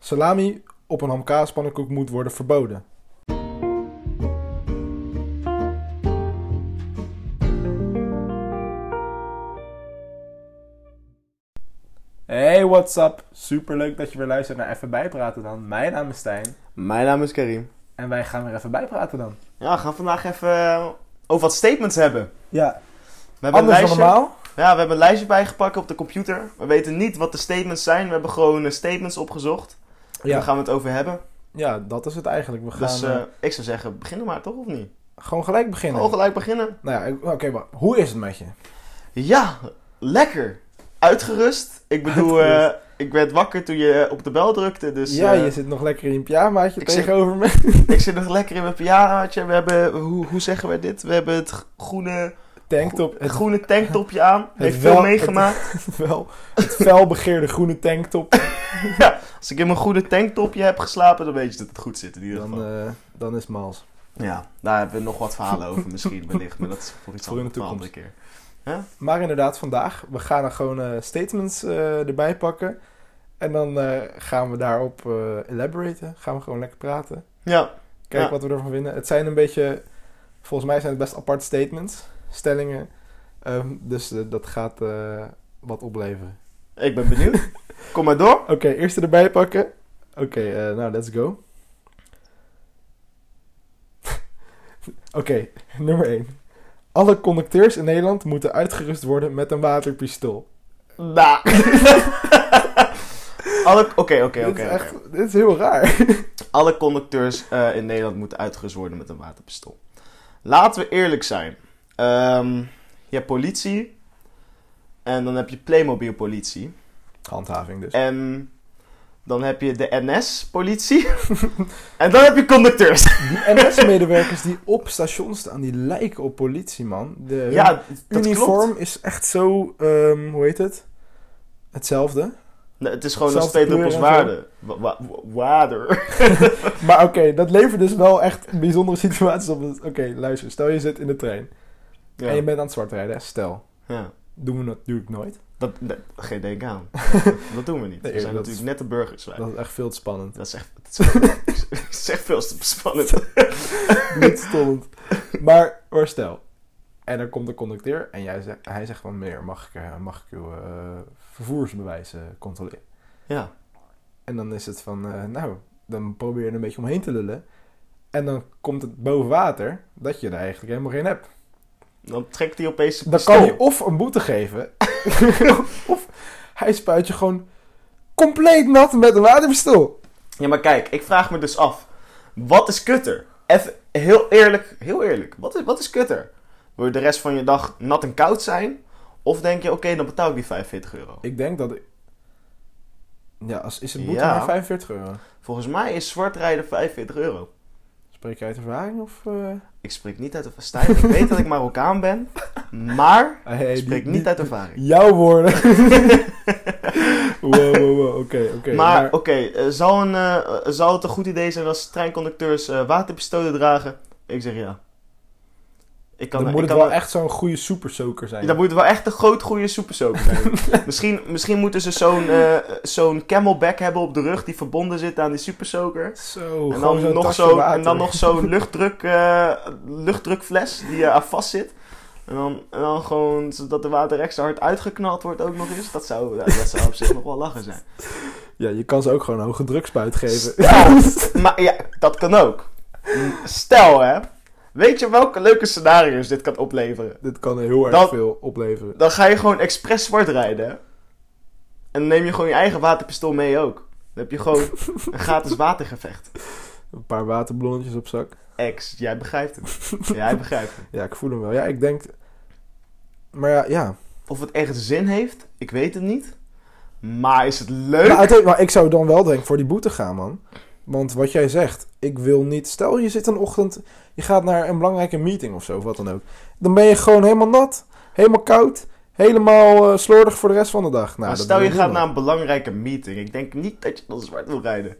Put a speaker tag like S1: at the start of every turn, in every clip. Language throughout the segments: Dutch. S1: Salami op een hamkaaspannenkoek moet worden verboden. Hey, what's up? Super leuk dat je weer luistert naar Even Bijpraten dan. Mijn naam is Stijn
S2: Mijn naam is Karim.
S1: en wij gaan weer even bijpraten dan.
S2: Ja, we gaan vandaag even eh, over wat statements hebben.
S1: Ja,
S2: We hebben, een
S1: anders dan
S2: lijstje, ja,
S1: normaal.
S2: we hebben een lijstje bijgepakt op de computer. We weten niet wat de statements zijn. We hebben gewoon eh, statements opgezocht. En daar
S1: Ja.
S2: gaan we het over hebben.
S1: ja, dat is het eigenlijk. We gaan
S2: Dus eh,
S1: eh,
S2: ik zou zeggen, beginnen maar toch of niet?
S1: gewoon gelijk beginnen.
S2: Gewoon gelijk beginnen.
S1: Nou ja, oké, maar hoe is het met je?
S2: Ja, lekker. Uitgerust. Ik bedoel, eh, ik werd wakker toen je eh, op de bel drukte. Dus
S1: ja,
S2: eh,
S1: je zit nog lekker in je pyjamaatje
S2: ik zit-
S1: tegenover me.
S2: ik zit nog lekker in mijn pyjamaatje. We hebben, hoe, hoe zeggen wij dit? We hebben het groene,
S1: Tanktop.
S2: het
S1: Het
S2: groene tanktopje aan. Heeft
S1: wel-
S2: veel meegemaakt.
S1: wel het felbegeerde groene tanktop.
S2: Ja, als ik in mijn goede tanktopje heb geslapen, dan weet je dat het goed zit in ieder
S1: Dan,
S2: geval.
S1: eh, dan is Maals.
S2: Ja, daar hebben we nog wat verhalen over misschien wellicht, maar dat is voor iets
S1: Voor in
S2: anders
S1: de
S2: voor een andere keer.
S1: Maar inderdaad, vandaag, we gaan er gewoon eh, statements eh, erbij pakken. En dan eh, gaan we daarop eh elaboraten. Gaan we gewoon lekker praten.
S2: Ja,
S1: Kijken
S2: Ja.
S1: wat we ervan vinden. Het zijn een beetje, volgens mij zijn het best aparte statements. Stellingen. Ehm, dus eh, dat gaat eh, wat opleveren.
S2: ik ben benieuwd. Kom maar door.
S1: Oké, eerste erbij pakken. Oké, eh, nou, let's go. Oké, nummer 1. Alle conducteurs in Nederland moeten uitgerust worden met een waterpistool.
S2: Nou. Alle- Oké, oké,
S1: dit, is
S2: oké.
S1: echt-
S2: oké.
S1: dit is heel raar.
S2: Alle conducteurs eh, in Nederland moeten uitgerust worden met een waterpistool. Laten we eerlijk zijn. Ehm, je hebt politie. En dan heb je Playmobil politie.
S1: Handhaving dus.
S2: En dan heb je de NS-politie. en dan heb je conducteurs.
S1: Die NS-medewerkers die op station staan, die lijken op politie, man. De, hun
S2: Ja, dat
S1: uniform
S2: klopt.
S1: is echt zo, ehm, hoe heet het? Hetzelfde.
S2: Nee, het is gewoon een
S1: Zelfde
S2: steeds op ons
S1: kleur en zo.
S2: waarde. Wa- wa- wa- Waarder.
S1: Maar oké, dat levert dus wel echt bijzondere situaties op. Dus Oké, luister, stel je zit in de trein.
S2: Ja.
S1: En je bent aan het zwart rijden, hè? stel.
S2: ja.
S1: Doen we natuurlijk nooit.
S2: Dat, dat, geen denk aan. dat doen we niet.
S1: Nee,
S2: we zijn
S1: dat-
S2: natuurlijk net de burgers. wij.
S1: Dat is echt veel te spannend.
S2: Dat is echt, dat is echt veel te spannend.
S1: Niet spannend. Maar, maar stel. En dan komt de conducteur en jij zegt, hij zegt van meneer, mag ik, eh, mag ik uw eh, vervoersbewijs eh, controleren?
S2: Ja.
S1: En dan is het van, eh, nou, dan probeer je er een beetje omheen te lullen. En dan komt het boven water dat je er eigenlijk helemaal geen hebt.
S2: Dan trekt hij opeens zijn
S1: Dan
S2: pistool.
S1: kan je of een boete geven, of hij spuit je gewoon compleet nat met een waterpistool.
S2: Ja, maar kijk. Ik vraag me dus af. Wat is kutter? Even heel eerlijk. Heel eerlijk. Wat is, wat is kutter? Wil je de rest van je dag nat en koud zijn? Of denk je, oké, dan betaal ik die 45 euro.
S1: Ik denk dat ik... Ja, als, is het boete
S2: Ja.
S1: maar 45 euro?
S2: Volgens mij is zwart rijden 45 euro.
S1: Spreek je uit ervaring of... eh?
S2: Ik spreek niet uit ervaring. Ik weet dat ik Marokkaan ben, maar
S1: Ah, hey,
S2: ik spreek
S1: die-
S2: niet uit
S1: die-
S2: ervaring.
S1: Jouw woorden. wow, wow, wow. Oké, oké.
S2: maar oké, eh, zou, een, eh, eh, zou het een goed idee zijn als treinconducteurs eh, waterpistolen dragen? Ik zeg ja. Ik kan,
S1: dan
S2: ik
S1: moet het
S2: kan-
S1: wel echt zo'n goede supersoaker zijn.
S2: Dan moet het wel echt een groot goede soepensoap zijn. misschien, misschien moeten ze zo'n eh, zo'n camelback hebben op de rug die verbonden zit aan die supersoaker.
S1: Zo,
S2: En
S1: gewoon
S2: dan,
S1: zo'n
S2: nog
S1: tasje
S2: zo,
S1: water.
S2: en dan nog zo'n luchtdruk, eh, luchtdrukfles die er aan vast zit. En dan, en dan gewoon zodat de water extra hard uitgeknald wordt ook nog eens. Dat zou, ja, dat zou op zich nog wel lachen zijn.
S1: Ja, je kan ze ook gewoon een hoge drukspuit geven.
S2: Stel, maar ja, dat kan ook. Stel hè, weet je welke leuke scenario's dit kan opleveren?
S1: Dit kan heel erg
S2: Dat-
S1: veel opleveren.
S2: Dan ga je gewoon expres zwart rijden. hè. En dan neem je gewoon je eigen waterpistool mee ook. Dan heb je gewoon een gratis watergevecht.
S1: Een paar waterballonnetjes op zak.
S2: Ex, jij begrijpt het. Jij begrijpt het.
S1: Ja, ik voel hem wel. Ja, ik denk... Maar ja, ja.
S2: Of het echt zin heeft, ik weet het niet. Maar is het leuk?
S1: Maar, uiteindelijk- maar ik zou dan wel denk ik voor die boete gaan, man. Want wat jij zegt, ik wil niet... Stel, je zit een ochtend, je gaat naar een belangrijke meeting of zo, of wat dan ook. Dan ben je gewoon helemaal nat, helemaal koud, helemaal eh, slordig voor de rest van de dag. Nou,
S2: maar
S1: dat
S2: stel
S1: wil
S2: je gaat naar
S1: niemand.
S2: een belangrijke meeting. Ik denk niet dat je dan zwart wil rijden.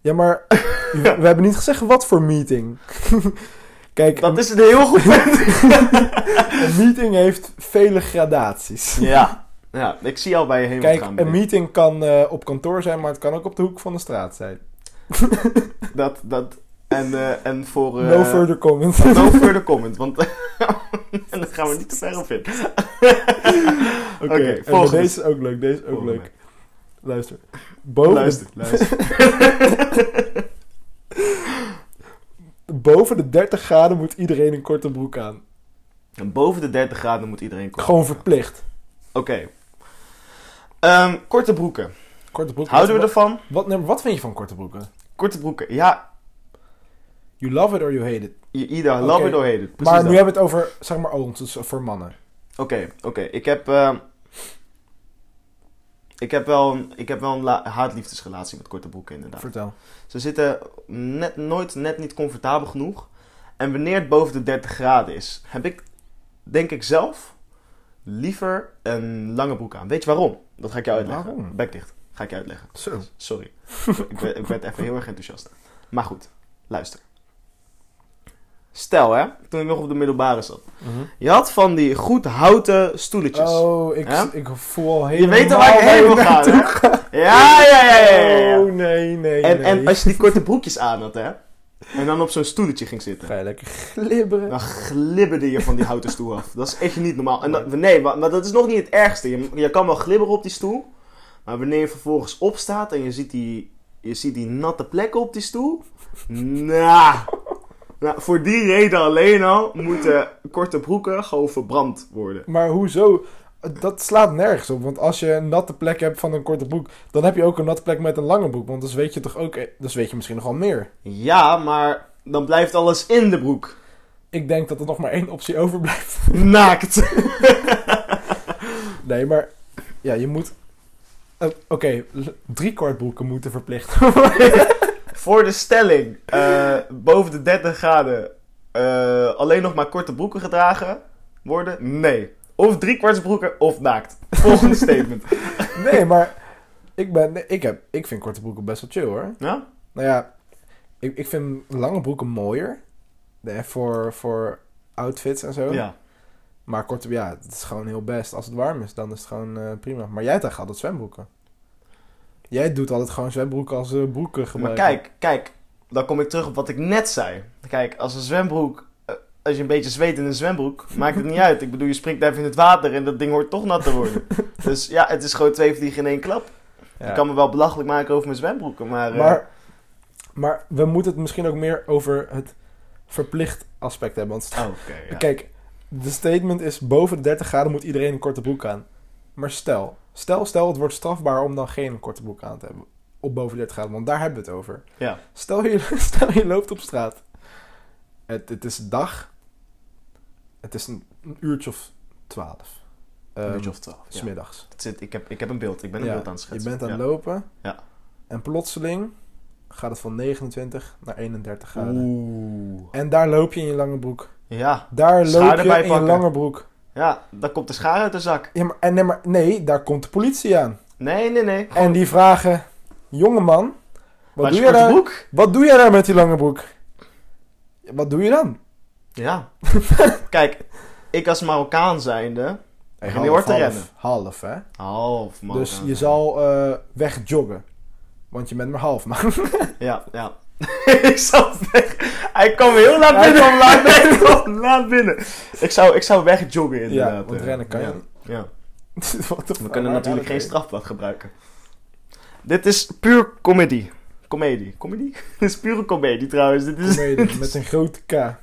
S1: Ja, maar we, we hebben niet gezegd wat voor meeting. Kijk,
S2: Dat is een heel goed punt.
S1: een meeting heeft vele gradaties.
S2: ja. Ja, ik zie al bij je heen wat
S1: Kijk,
S2: gaan.
S1: een meeting kan eh, op kantoor zijn, maar het kan ook op de hoek van de straat zijn.
S2: dat, dat, en, eh, en voor... eh,
S1: no further comment.
S2: no further comment, want en daar gaan we niet te ver op in.
S1: Oké,
S2: Oké,
S1: en
S2: volgende.
S1: Deze is ook leuk, deze is ook
S2: Volgende.
S1: leuk. Luister. Boven,
S2: Luister, luister.
S1: De, boven de 30 graden moet iedereen een korte broek aan.
S2: En boven de 30 graden moet iedereen komen.
S1: Gewoon verplicht.
S2: Oké. Ehm, korte broeken.
S1: Korte broeken.
S2: Houden we
S1: wat,
S2: ervan?
S1: wat, nee, maar wat vind je van korte broeken?
S2: Korte broeken. Ja,
S1: You love it or you hate it.
S2: je- ieder. Love
S1: Oké.
S2: it or hate it. nou Precies
S1: maar
S2: dat.
S1: nu hebben we het over, zeg maar, ons, dus voor mannen.
S2: Oké, oké. Ik heb... ehm, ik heb wel een, ik heb wel een la- haat-liefdesrelatie met korte broeken inderdaad.
S1: Vertel.
S2: Ze zitten net, nooit net niet comfortabel genoeg. En wanneer het boven de 30 graden is, heb ik, denk ik zelf, liever een lange broek aan. Weet je waarom? Dat ga ik je uitleggen.
S1: Waarom?
S2: Bek dicht. Ga ik je uitleggen.
S1: Zo.
S2: Sorry. ik, werd, ik werd even heel erg enthousiast. Maar goed, luister. Stel hè, toen ik nog op de middelbare zat. Je had van die goed houten stoeletjes.
S1: Oh, ik,
S2: Hè?
S1: ik voel al
S2: je
S1: helemaal...
S2: weet al waar ik
S1: waar je
S2: heen wil gaan,
S1: naartoe
S2: hè? Ja, ja, ja, ja, ja, ja.
S1: Oh, nee, nee,
S2: En,
S1: nee.
S2: en als je die korte broekjes aan had, hè? En dan op zo'n stoeltje ging zitten.
S1: Ga je lekker glibberen.
S2: Dan glibberde je van die houten stoel af. Dat is echt niet normaal. En dat- nee, maar, maar dat is nog niet het ergste. Je, je kan wel glibberen op die stoel. Maar wanneer je vervolgens opstaat en je ziet die, je ziet die natte plekken op die stoel. Nou, nou, voor die reden alleen al moeten korte broeken gewoon verbrand worden.
S1: Maar hoezo? Dat slaat nergens op. Want als je een natte plek hebt van een korte broek, dan heb je ook een natte plek met een lange broek. Want dan weet je toch ook, dus weet je misschien nog wel meer.
S2: Ja, maar dan blijft alles in de broek.
S1: Ik denk dat er nog maar één optie overblijft.
S2: Naakt.
S1: Nee, maar ja, je moet. Eh, Oké, l- drie kortbroeken moeten verplicht.
S2: Voor de stelling, eh, boven de 30 graden eh, alleen nog maar korte broeken gedragen worden? Nee. Of driekwarts broeken of naakt. Volgende statement.
S1: Nee, maar ik, ben, nee, ik, heb, ik vind korte broeken best wel chill hoor.
S2: Ja?
S1: Nou ja, ik, ik vind lange broeken mooier. Nee, voor, voor outfits en zo.
S2: Ja.
S1: Maar korte, ja, het is gewoon heel best. Als het warm is, dan is het gewoon eh, prima. Maar jij draagt altijd zwembroeken. Jij doet altijd gewoon zwembroeken als eh, broeken
S2: Maar
S1: gebruiken.
S2: kijk, kijk, dan kom ik terug op wat ik net zei. Kijk, als een zwembroek, eh, als je een beetje zweet in een zwembroek, maakt het niet uit. Ik bedoel, je springt even in het water en dat ding hoort toch nat te worden. Dus ja, het is gewoon twee vliegen in één klap.
S1: Ja.
S2: Ik kan me wel belachelijk maken over mijn zwembroeken, maar... eh,
S1: maar, maar we moeten het misschien ook meer over het verplicht aspect hebben. Want
S2: Oh, oké, ja.
S1: kijk, de statement is boven de 30 graden moet iedereen een korte broek aan. Maar stel, stel, stel het wordt strafbaar om dan geen korte broek aan te hebben. Op boven de 30 graden, want daar hebben we het over.
S2: ja.
S1: Stel je, stel je loopt op straat. Het, het is dag. Het is een, een uurtje of twaalf.
S2: Een
S1: Ehm,
S2: beetje of twaalf. ja.
S1: Smiddags.
S2: Het zit, ik, heb, ik heb een beeld, ik ben een
S1: Ja,
S2: beeld aan het schetsen.
S1: Je bent aan het
S2: Ja.
S1: lopen.
S2: Ja.
S1: En plotseling gaat het van 29 naar 31 graden.
S2: Oeh.
S1: En daar loop je in je lange broek.
S2: Ja,
S1: Daar loop
S2: Schaar
S1: je
S2: erbij
S1: in
S2: pakken.
S1: je lange broek.
S2: ja, dan komt de schaar uit de zak.
S1: Ja, maar, en, nee, maar nee, daar komt de politie aan.
S2: Nee, nee, nee.
S1: En die vragen... Jongeman, wat
S2: Waar is
S1: doe, jij
S2: je korte
S1: daar,
S2: broek?
S1: wat doe jij daar met die lange broek? Wat doe je dan?
S2: Ja. Kijk, ik als Marokkaan zijnde...
S1: Hey,
S2: Begin je hoor te
S1: half,
S2: rennen.
S1: half, hè?
S2: Half man.
S1: Dus je zal eh, wegjoggen. Want je bent maar half, man.
S2: Ja, ja. ik zat weg. Hij kwam heel laat
S1: Hij
S2: binnen. laat binnen. laat binnen. Ik zou, ik zou wegjoggen inderdaad.
S1: ja, want
S2: eh.
S1: rennen kan
S2: ja.
S1: je niet.
S2: Ja.
S1: What the
S2: We
S1: fuck,
S2: kunnen
S1: waar gaat
S2: natuurlijk geen
S1: het heen?
S2: strafblad gebruiken. Dit is puur comedy. Comedie. Comedy? Dit is pure comedie trouwens. Dit is...
S1: Comedy met een grote K.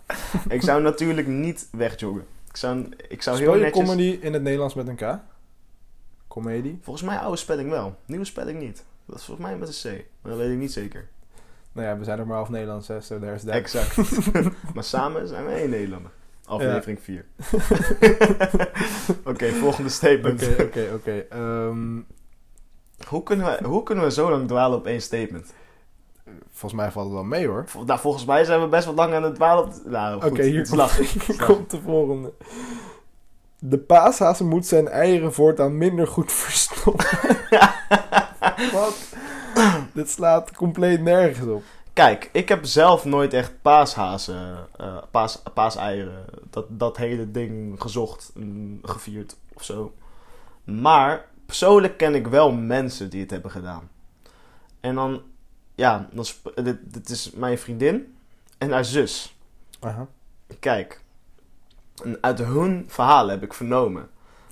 S2: Ik zou natuurlijk niet wegjoggen. Ik zou, ik zou heel
S1: Speel je
S2: netjes...
S1: comedy in het Nederlands met een K? Comedy?
S2: Volgens mij oude spelling wel. Nieuwe spelling niet. Dat is volgens mij met een C. Maar dat weet ik niet zeker.
S1: Nou ja, we zijn ook maar half Nederlands, hè. So there's that.
S2: Exact. maar samen zijn wij één Nederlander. Aflevering 4. Oké, volgende statement.
S1: Oké, oké, oké. Ehm,
S2: Hoe, kunnen we, hoe kunnen we zo lang dwalen op één statement?
S1: Volgens mij valt het wel mee, hoor.
S2: Vol- nou, volgens mij zijn we best wel lang aan het dwalen op... Nou, goed.
S1: Oké, hier
S2: het is lachen. Het is
S1: Hier
S2: lachen.
S1: komt de volgende. De paashaas moet zijn eieren voortaan minder goed verstoppen. Wat? Dit slaat compleet nergens op.
S2: Kijk, ik heb zelf nooit echt paashazen, eh, paas, paaseieren, dat, dat hele ding gezocht en gevierd mm, of zo. Maar persoonlijk ken ik wel mensen die het hebben gedaan. En dan, ja, dan sp- dit, dit is mijn vriendin en haar zus.
S1: Aha.
S2: Kijk, en uit hun verhalen heb ik vernomen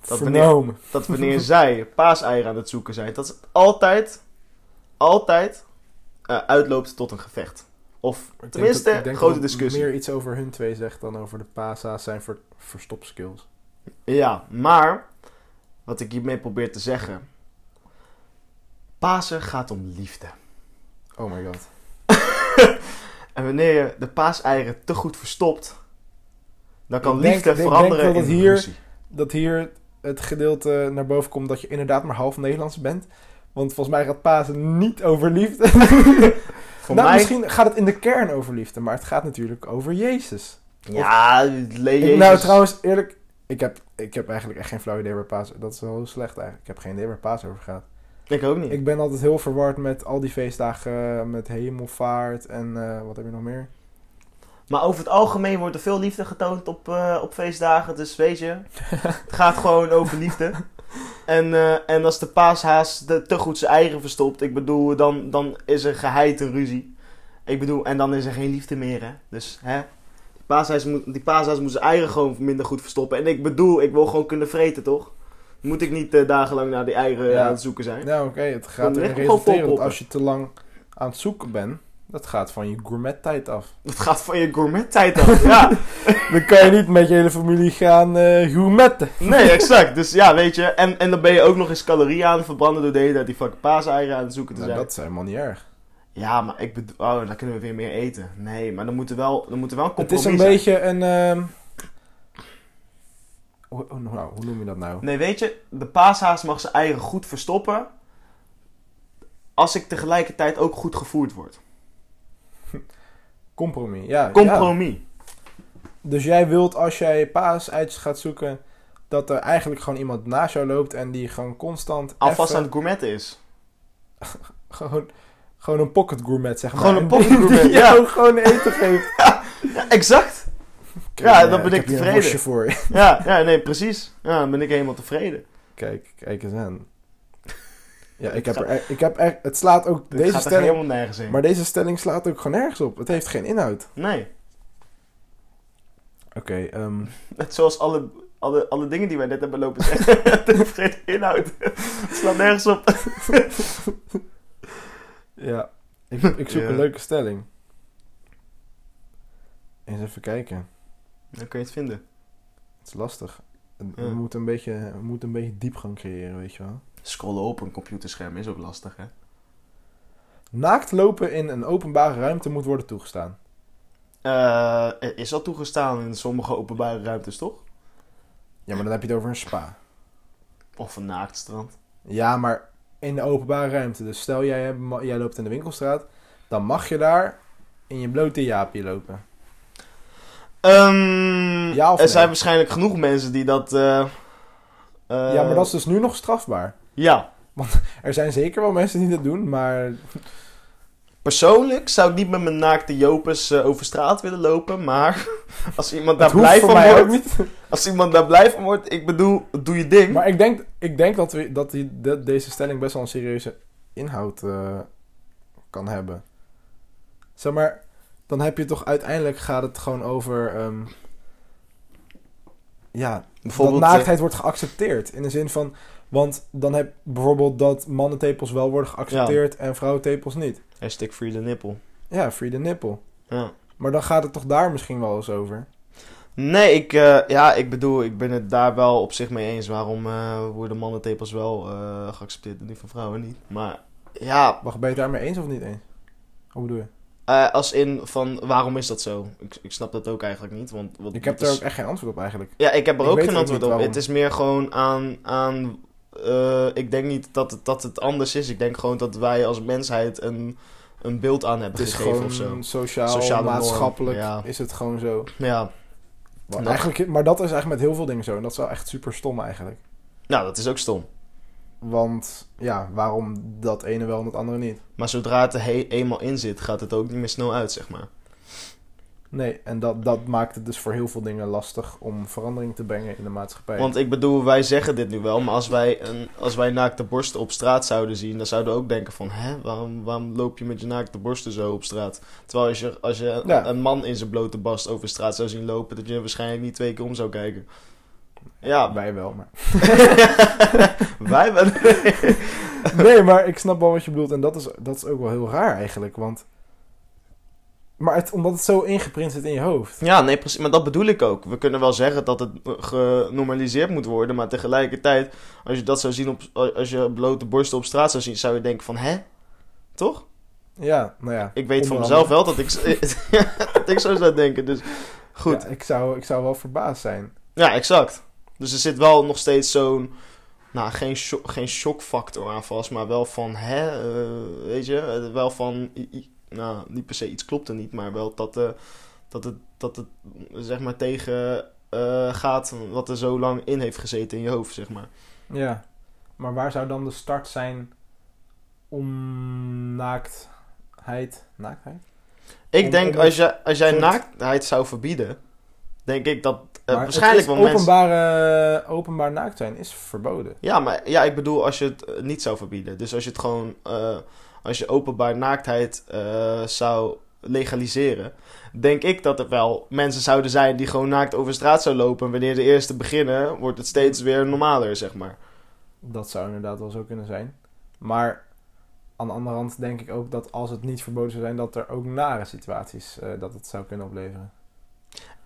S2: Dat wanneer-
S1: Vernomen.
S2: dat wanneer zij paaseieren aan het zoeken zijn, dat het altijd, altijd eh, uitloopt tot een gevecht. Of
S1: Ik denk
S2: tenminste,
S1: dat- ik denk
S2: grote
S1: dat het
S2: discussie.
S1: meer iets over hun twee zegt dan over de Pasa's zijn ver, verstopskills.
S2: Ja, maar wat ik hiermee probeer te zeggen. Pasen gaat om liefde.
S1: Oh my god.
S2: En wanneer je de paaseieren te goed verstopt, dan kan
S1: Ik denk-
S2: liefde
S1: ik denk
S2: veranderen
S1: wel dat
S2: in
S1: hier-
S2: ruzie.
S1: Dat hier het gedeelte naar boven komt dat je inderdaad maar half Nederlands bent. Want volgens mij gaat Pasen niet over liefde.
S2: Voor
S1: nou,
S2: mij,
S1: misschien gaat het in de kern over liefde, maar het gaat natuurlijk over Jezus.
S2: ja, le-
S1: Ik-
S2: Jezus.
S1: nou, trouwens, eerlijk, ik heb, ik heb eigenlijk echt geen flauw idee waar Paas... Dat is wel heel slecht eigenlijk. Ik heb geen idee waar Paas over gaat.
S2: Ik ook niet.
S1: Ik ben altijd heel verward met al die feestdagen, eh, met hemelvaart en eh, wat heb je nog meer?
S2: Maar over het algemeen wordt er veel liefde getoond op, eh, op feestdagen. Dus weet je, het gaat gewoon over liefde. En, eh, en als de paashaas de, te goed zijn eieren verstopt, ik bedoel, dan, dan is er geheid een ruzie. Ik bedoel, en dan is er geen liefde meer, hè. Dus, hè. Die paashaas moet, die paashaas moet zijn eieren gewoon minder goed verstoppen. En ik bedoel, ik wil gewoon kunnen vreten, toch? Moet ik niet eh, dagenlang naar die eieren eh,
S1: Ja.
S2: aan het zoeken zijn?
S1: Nou, oké, het
S2: Dan
S1: gaat
S2: leg
S1: erin
S2: hem gewoon
S1: resulteren dat
S2: volproppen.
S1: als je te lang aan het zoeken bent, dat gaat van je gourmet-tijd af.
S2: Dat gaat van je gourmet-tijd af, ja.
S1: Dan kan je niet met je hele familie gaan eh gourmetten.
S2: Nee, exact. Dus ja, weet je. En, en dan ben je ook nog eens calorieën aan het verbranden door de hele tijd die fucking paaseieren aan het zoeken te
S1: Nou,
S2: zijn.
S1: dat is helemaal niet erg.
S2: Ja, maar ik bedoel... Oh, dan kunnen we weer meer eten. Nee, maar dan moet er wel, dan moet er wel een
S1: Het
S2: compromis
S1: is een
S2: zijn.
S1: beetje een... ehm, Hoe, hoe- nou, hoe noem je dat nou?
S2: Nee, weet je. De paashaas mag zijn eieren goed verstoppen. Als ik tegelijkertijd ook goed gevoerd word.
S1: Compromis. Ja, ja.
S2: Compromis.
S1: Dus jij wilt als jij paas uit gaat zoeken, dat er eigenlijk gewoon iemand naast jou loopt en die gewoon constant.
S2: Alvast
S1: even-
S2: aan het gourmetten is.
S1: gewoon, gewoon een pocket gourmet, zeg maar.
S2: Gewoon een
S1: En
S2: pocket
S1: die-
S2: gourmet,
S1: Die
S2: ja.
S1: jou gewoon eten geeft.
S2: Ja, exact. Ja, dan ben ik
S1: hier
S2: tevreden.
S1: Een worstje voor je.
S2: Ja, ja, nee, precies. Ja, dan ben ik helemaal tevreden.
S1: Kijk, kijk eens aan. Ja, ik heb,
S2: gaat-
S1: er, e- ik heb er, het slaat ook
S2: Dit
S1: deze
S2: gaat er
S1: stelling.
S2: helemaal nergens heen.
S1: Maar deze stelling slaat ook gewoon nergens op. Het heeft geen inhoud.
S2: Nee.
S1: Oké, ehm,
S2: Net zoals alle, alle, alle dingen die wij net hebben lopen zeggen. Het heeft geen inhoud. Het slaat nergens op.
S1: ja. Ik, ik zoek
S2: Ja.
S1: een leuke stelling. Eens even kijken.
S2: Dan kun je het vinden.
S1: Het is lastig. We,
S2: Ja.
S1: moeten een beetje, we moeten een beetje diepgang creëren, weet je wel.
S2: Scrollen op een computerscherm is ook lastig, hè?
S1: Naakt lopen in een openbare ruimte moet worden toegestaan.
S2: Eh, is dat toegestaan in sommige openbare ruimtes, toch?
S1: Ja, maar dan heb je het over een spa.
S2: Of een naaktstrand.
S1: Ja, maar in de openbare ruimte. Dus stel jij, hebt- ma- jij loopt in de winkelstraat, dan mag je daar in je blote jaapje lopen.
S2: Ehm,
S1: Ja of
S2: er
S1: nee?
S2: zijn waarschijnlijk genoeg mensen die dat... eh, eh,
S1: ja, maar dat is dus nu nog strafbaar.
S2: Ja,
S1: Er zijn zeker wel mensen die dat doen, maar
S2: persoonlijk zou ik niet met mijn naakte jopers eh, over straat willen lopen, maar... Als iemand
S1: dat
S2: daar
S1: hoeft
S2: blij
S1: voor
S2: van
S1: mij ook
S2: wordt...
S1: niet.
S2: Als iemand daar blij van wordt, ik bedoel, doe je ding.
S1: Maar ik denk, ik denk dat, we, dat die, dat deze stelling best wel een serieuze inhoud eh, kan hebben. Zeg maar, dan heb je toch uiteindelijk gaat het gewoon over. ehm, ja, dat
S2: eh,
S1: naaktheid wordt geaccepteerd. In de zin van. Want dan heb bijvoorbeeld dat mannentepels wel worden geaccepteerd en vrouwentepels niet.
S2: Hashtag free the nipple.
S1: Ja, free the nipple.
S2: Ja.
S1: Maar dan gaat het toch daar misschien wel eens over.
S2: Nee, ik, eh, ja, ik bedoel, ik ben het daar wel op zich mee eens. Waarom eh, worden mannentepels wel eh, geaccepteerd en die van vrouwen niet? Maar ja,
S1: Wacht, ben je het daarmee eens of niet eens? Hoe bedoel je?
S2: eh, als in van waarom is dat zo? Ik, ik snap dat ook eigenlijk niet. Want, want
S1: Ik heb
S2: dat
S1: daar
S2: is-
S1: ook echt geen antwoord op eigenlijk.
S2: Ja, ik heb er
S1: ik
S2: ook
S1: weet
S2: geen
S1: ook
S2: antwoord
S1: niet
S2: op.
S1: waarom.
S2: Het is meer gewoon aan. aan eh, ik denk niet dat het, dat het anders is. Ik denk gewoon dat wij als mensheid een, een beeld aan
S1: Het
S2: hebben
S1: is
S2: gegeven of
S1: gewoon
S2: zo.
S1: sociaal,
S2: Sociale norm,
S1: maatschappelijk
S2: ja.
S1: is het gewoon zo.
S2: Ja,
S1: Maar,
S2: Nou.
S1: eigenlijk, maar dat is eigenlijk met heel veel dingen zo. En dat is wel echt super stom eigenlijk.
S2: nou, dat is ook stom.
S1: Want ja, waarom dat ene wel en het andere niet?
S2: Maar zodra het er he- eenmaal in zit, gaat het ook niet meer snel uit, zeg maar.
S1: Nee, en dat, dat maakt het dus voor heel veel dingen lastig om verandering te brengen in de maatschappij.
S2: Want ik bedoel, wij zeggen dit nu wel, maar als wij, een, als wij naakte borsten op straat zouden zien, dan zouden we ook denken van, hè, waarom, waarom loop je met je naakte borsten zo op straat? Terwijl als je, als je
S1: Ja.
S2: een man in zijn blote bast over straat zou zien lopen, dat je waarschijnlijk niet twee keer om zou kijken. Ja,
S1: Wij wel, maar...
S2: wij wel.
S1: Nee, maar ik snap wel wat je bedoelt. En dat is, dat is ook wel heel raar eigenlijk, want... Maar het, omdat het zo ingeprint zit in je hoofd.
S2: Ja, nee, precies. Maar dat bedoel ik ook. We kunnen wel zeggen dat het eh, genormaliseerd moet worden. Maar tegelijkertijd, als je dat zou zien op, als je blote borsten op straat zou zien, zou je denken van hè? Toch?
S1: Ja, nou ja.
S2: Ik weet
S1: onder
S2: van
S1: andere.
S2: mezelf wel dat ik, dat ik zo zou denken. Dus goed.
S1: Ja, ik, zou, ik zou wel verbaasd zijn.
S2: Ja, exact. Dus er zit wel nog steeds zo'n. Nou, geen, sho- geen shockfactor aan vast, maar wel van hè? eh, weet je, eh, wel van. i- i- nou, niet per se iets klopt er niet, maar wel dat, eh, dat, het, dat het zeg maar tegen eh, gaat wat er zo lang in heeft gezeten in je hoofd, zeg maar.
S1: Ja. Maar waar zou dan de start zijn om naaktheid... Naaktheid?
S2: Ik
S1: Om-
S2: denk
S1: om-
S2: als, jij als jij
S1: soort-
S2: naaktheid zou verbieden, denk ik dat eh,
S1: Maar
S2: waarschijnlijk
S1: het
S2: wel
S1: is
S2: mensen.
S1: openbare, Openbaar naakt zijn is verboden.
S2: Ja, maar ja, ik bedoel als je het eh, niet zou verbieden. Dus als je het gewoon, eh, als je openbaar naaktheid eh, zou legaliseren, denk ik dat er wel mensen zouden zijn die gewoon naakt over straat zouden lopen. En wanneer de eerste beginnen, wordt het steeds weer normaler, zeg maar.
S1: Dat zou inderdaad wel zo kunnen zijn. Maar aan de andere hand denk ik ook dat als het niet verboden zou zijn, dat er ook nare situaties eh, dat het zou kunnen opleveren.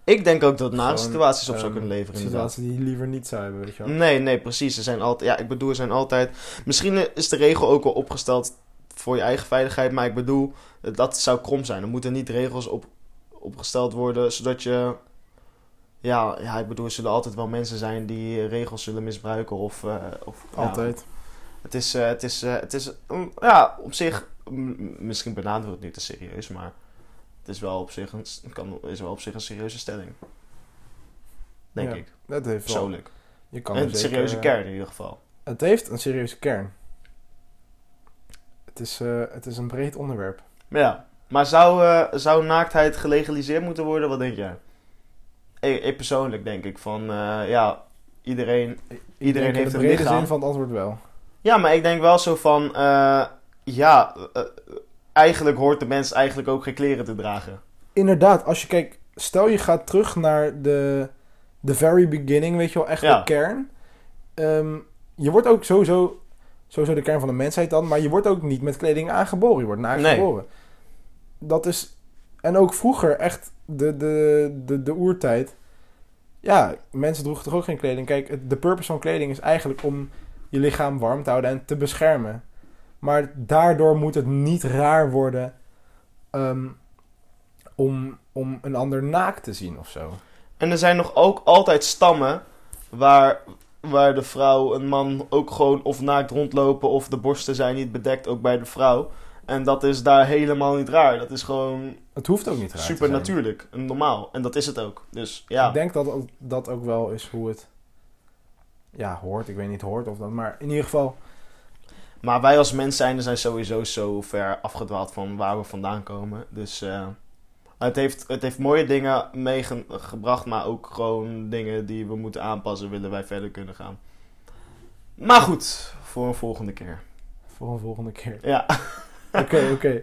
S2: Ik denk ook dat het nare
S1: Gewoon,
S2: situaties op zou
S1: Ehm,
S2: kunnen leveren, inderdaad. Mm,
S1: Situaties die je liever niet zou hebben, weet je wel.
S2: Nee, nee, precies. Er zijn altijd, ja, ik bedoel, er zijn altijd. Misschien is de regel ook wel opgesteld voor je eigen veiligheid, maar ik bedoel, dat zou krom zijn. Er moeten niet regels op, opgesteld worden, zodat je. Ja, ja, ik bedoel, er zullen altijd wel mensen zijn die regels zullen misbruiken of. eh, of ja,
S1: Altijd.
S2: het is, eh, het is, eh, het is mm, ja, op zich, mm, misschien benaderen we het niet te serieus, maar het is wel op zich een, kan, is wel op zich een serieuze stelling. Denk
S1: Ja,
S2: ik,
S1: Dat heeft wel.
S2: persoonlijk.
S1: Je kan er
S2: Een
S1: zeker,
S2: serieuze
S1: eh,
S2: kern in ieder geval.
S1: Het heeft een serieuze kern. Het is, eh, het is een breed onderwerp.
S2: Ja, maar zou, eh, zou naaktheid gelegaliseerd moeten worden? Wat denk jij? Ik, ik persoonlijk denk ik van, eh, ja, iedereen,
S1: Ik denk
S2: iedereen
S1: in
S2: heeft
S1: de
S2: een
S1: brede
S2: lichaam.
S1: zin van het antwoord wel.
S2: Ja, maar ik denk wel zo van, eh, ja, eh, eh, eigenlijk hoort de mens eigenlijk ook geen kleren te dragen.
S1: Inderdaad, als je kijkt, stel je gaat terug naar de, de very beginning, weet je wel, echt
S2: Ja.
S1: de kern. Ehm, je wordt ook sowieso, sowieso de kern van de mensheid dan, maar je wordt ook niet met kleding aangeboren. Je wordt
S2: Nee.
S1: aangeboren. Dat is, en ook vroeger, echt de, de, de, de oertijd. Ja, mensen droegen toch ook geen kleding. Kijk, het- de purpose van kleding is eigenlijk om je lichaam warm te houden en te beschermen. Maar daardoor moet het niet raar worden ehm, om, om een ander naakt te zien of zo.
S2: En er zijn nog ook altijd stammen waar, waar de vrouw en man ook gewoon of naakt rondlopen of de borsten zijn niet bedekt, ook bij de vrouw. En dat is daar helemaal niet raar. Dat is gewoon
S1: Het hoeft ook niet raar te
S2: Super
S1: zijn.
S2: natuurlijk en normaal. En dat is het ook. Dus ja.
S1: Ik denk dat dat ook wel is hoe het ja, hoort. Ik weet niet hoort of dat, maar in ieder geval.
S2: Maar wij als mens zijn, zijn sowieso zo ver afgedwaald van waar we vandaan komen. Dus eh, het, heeft, het heeft mooie dingen meegebracht, maar ook gewoon dingen die we moeten aanpassen, willen wij verder kunnen gaan. Maar goed, voor een volgende keer.
S1: Voor een volgende keer.
S2: Ja,
S1: Oké, oké.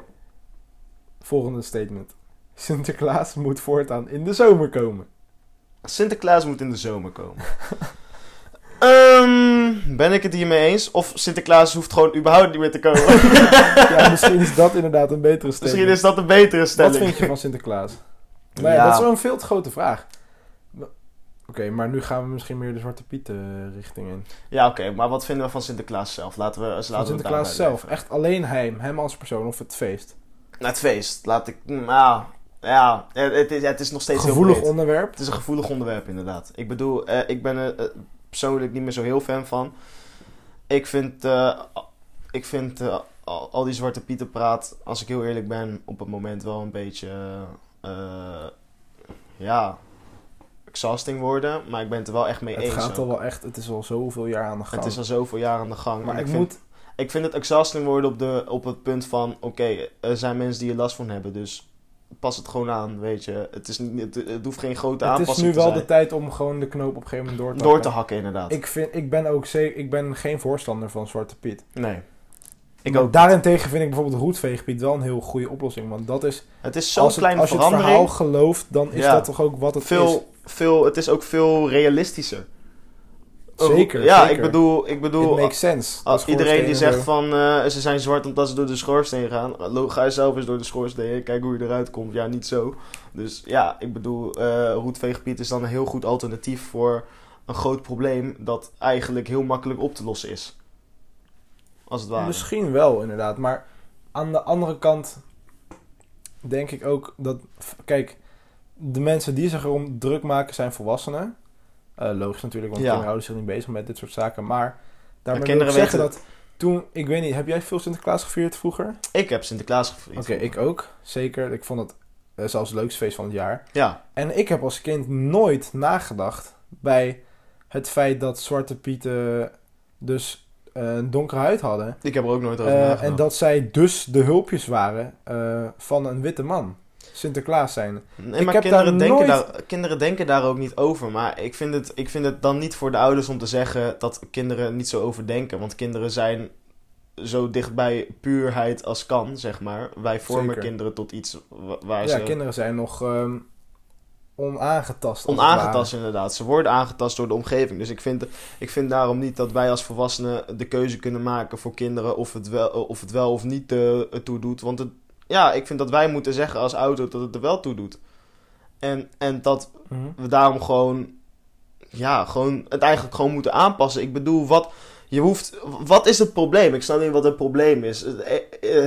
S1: Volgende statement. Sinterklaas moet voortaan in de zomer komen.
S2: Sinterklaas moet in de zomer komen. Ehm, ben ik het hiermee eens? Of Sinterklaas hoeft gewoon überhaupt niet meer te komen?
S1: Ja, misschien is dat inderdaad een betere statement.
S2: Misschien is dat een betere stelling.
S1: Wat vind je van Sinterklaas? Nee,
S2: Ja.
S1: dat is wel een veel te grote vraag. Oké, maar nu gaan we misschien meer de Zwarte Piet eh, richting in.
S2: Ja, oké, maar wat vinden we van Sinterklaas zelf? Laten we, laten
S1: Van
S2: we het daarbij
S1: Sinterklaas zelf.
S2: blijven.
S1: Echt alleen hem. Hem als persoon of het feest.
S2: Nou, het feest. Laat ik. mm, ah, ja, het, het is, het is nog steeds heel
S1: Gevoelig
S2: breed.
S1: onderwerp.
S2: Het is een gevoelig onderwerp, inderdaad. Ik bedoel, eh, ik ben er eh, persoonlijk niet meer zo heel fan van. Ik vind, eh, ik vind eh, al, al die zwarte pieten praat, als ik heel eerlijk ben, op het moment wel een beetje. eh, ja. Exhausting worden, maar ik ben het er wel echt mee
S1: Het
S2: eens.
S1: gaat
S2: hoor.
S1: al wel echt. Het is al zoveel jaar aan de gang.
S2: het is al zoveel jaar aan de gang.
S1: maar
S2: en
S1: ik
S2: vind-
S1: moet.
S2: Ik vind het exhausting worden op, de, op het punt van: oké, er zijn mensen die er last van hebben, dus pas het gewoon aan, weet je. Het, is niet, het, het hoeft geen grote
S1: Het is
S2: aanpassing
S1: nu
S2: te
S1: wel
S2: zijn.
S1: de tijd om gewoon de knoop op een gegeven moment door te
S2: Door te
S1: hakken.
S2: hakken, inderdaad.
S1: Ik, vind, ik ben ook zeker, ik ben geen voorstander van Zwarte Piet.
S2: nee. Ik
S1: Maar
S2: ook.
S1: Daarentegen vind ik bijvoorbeeld Roetveegpiet wel een heel goede oplossing. Want dat is,
S2: Het is zo'n
S1: als, het,
S2: kleine
S1: als je het
S2: verandering.
S1: verhaal gelooft, dan is
S2: Ja.
S1: dat toch ook wat het is.
S2: veel, veel, het is ook veel realistischer.
S1: Zeker,
S2: Ja,
S1: zeker.
S2: ik bedoel, ik bedoel
S1: It makes sense.
S2: als
S1: Dat
S2: Ah, iedereen die
S1: schoorstenen
S2: zegt van eh, ze zijn zwart omdat ze door de schoorsteen gaan. Lo- Ga zelf eens door de schoorsteen, kijk hoe je eruit komt. Ja, niet zo. Dus ja, ik bedoel, eh roetveegpiet is dan een heel goed alternatief voor een groot probleem dat eigenlijk heel makkelijk op te lossen is. Als het ware.
S1: Misschien wel, inderdaad. Maar aan de andere kant denk ik ook dat... f- Kijk, de mensen die zich erom druk maken zijn volwassenen. Eh, logisch natuurlijk, want
S2: Ja.
S1: kinderen houden zich niet bezig met dit soort zaken. Maar daarmee wil ik
S2: kinderen
S1: zeggen
S2: weten-
S1: dat toen... Ik weet niet, heb jij veel Sinterklaas gevierd vroeger? Oké,
S2: Ik heb Sinterklaas gevierd.
S1: ik ook. Zeker. Ik vond het eh, zelfs het leukste feest van het jaar.
S2: Ja,
S1: En ik heb als kind nooit nagedacht bij het feit dat zwarte pieten dus eh, een donkere huid hadden.
S2: ik heb er ook nooit over
S1: Eh,
S2: nagedacht.
S1: en dat zij dus de hulpjes waren eh, van een witte man. Sinterklaas zijn.
S2: Nee,
S1: Ik
S2: maar
S1: heb
S2: kinderen,
S1: daar
S2: denken
S1: nooit-
S2: daar, kinderen denken daar ook niet over. Maar ik vind, het, ik vind het dan niet voor de ouders om te zeggen dat kinderen niet zo overdenken. Want kinderen zijn zo dicht bij puurheid als kan, zeg maar. Wij vormen
S1: Zeker.
S2: kinderen tot iets wa- waar
S1: ja,
S2: ze...
S1: kinderen zijn nog ehm, onaangetast. als het
S2: Onaangetast inderdaad. Ze worden aangetast door de omgeving. Dus ik vind, ik vind daarom niet dat wij als volwassenen de keuze kunnen maken voor kinderen of het wel of, het wel of niet eh, het toe doet. Want het, ja, ik vind dat wij moeten zeggen als ouder dat het er wel toe doet. En, en dat
S1: ware. Mhm.
S2: we daarom gewoon, ja, gewoon het eigenlijk gewoon moeten aanpassen. Ik bedoel, wat, je hoeft, wat is het probleem? Ik snap niet wat het probleem is. Het- eh,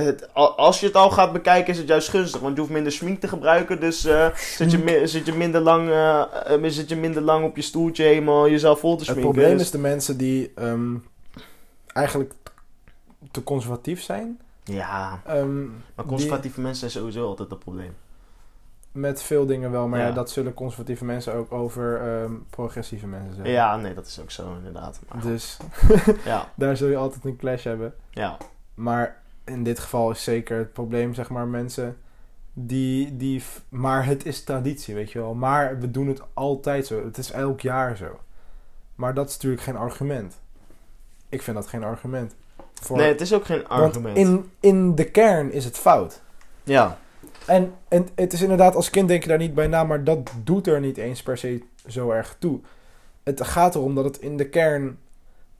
S2: het- a- als je het al gaat bekijken, is het juist gunstig, want je hoeft minder schmink te gebruiken. Dus eh, zit, je, mi- zit, je minder lang, eh, eh, zit je minder lang op je stoeltje helemaal jezelf vol te
S1: Het
S2: schminken.
S1: probleem
S2: Dus-
S1: is de mensen die ehm, eigenlijk te conservatief zijn.
S2: Ja,
S1: Ehm,
S2: maar
S1: die-
S2: conservatieve mensen zijn sowieso altijd een probleem.
S1: met veel dingen wel, maar ja.
S2: Ja.
S1: dat zullen conservatieve mensen ook over ehm, progressieve mensen
S2: Ja.
S1: zeggen.
S2: nee, dat is ook zo inderdaad. Maar goed,
S1: Dus
S2: ja,
S1: daar zul je altijd een clash hebben.
S2: ja.
S1: Maar in dit geval is zeker het probleem, zeg maar, mensen die, die. f- Maar het is traditie, weet je wel. Maar we doen het altijd zo. Het is elk jaar zo. Maar dat is natuurlijk geen argument. Ik vind dat geen argument. Voor,
S2: Nee, het is ook geen argument.
S1: Want in, in de kern is het fout.
S2: Ja,
S1: En, en het is inderdaad, als kind denk je daar niet bij na, maar dat doet er niet eens per se zo erg toe. Het gaat erom dat het in de kern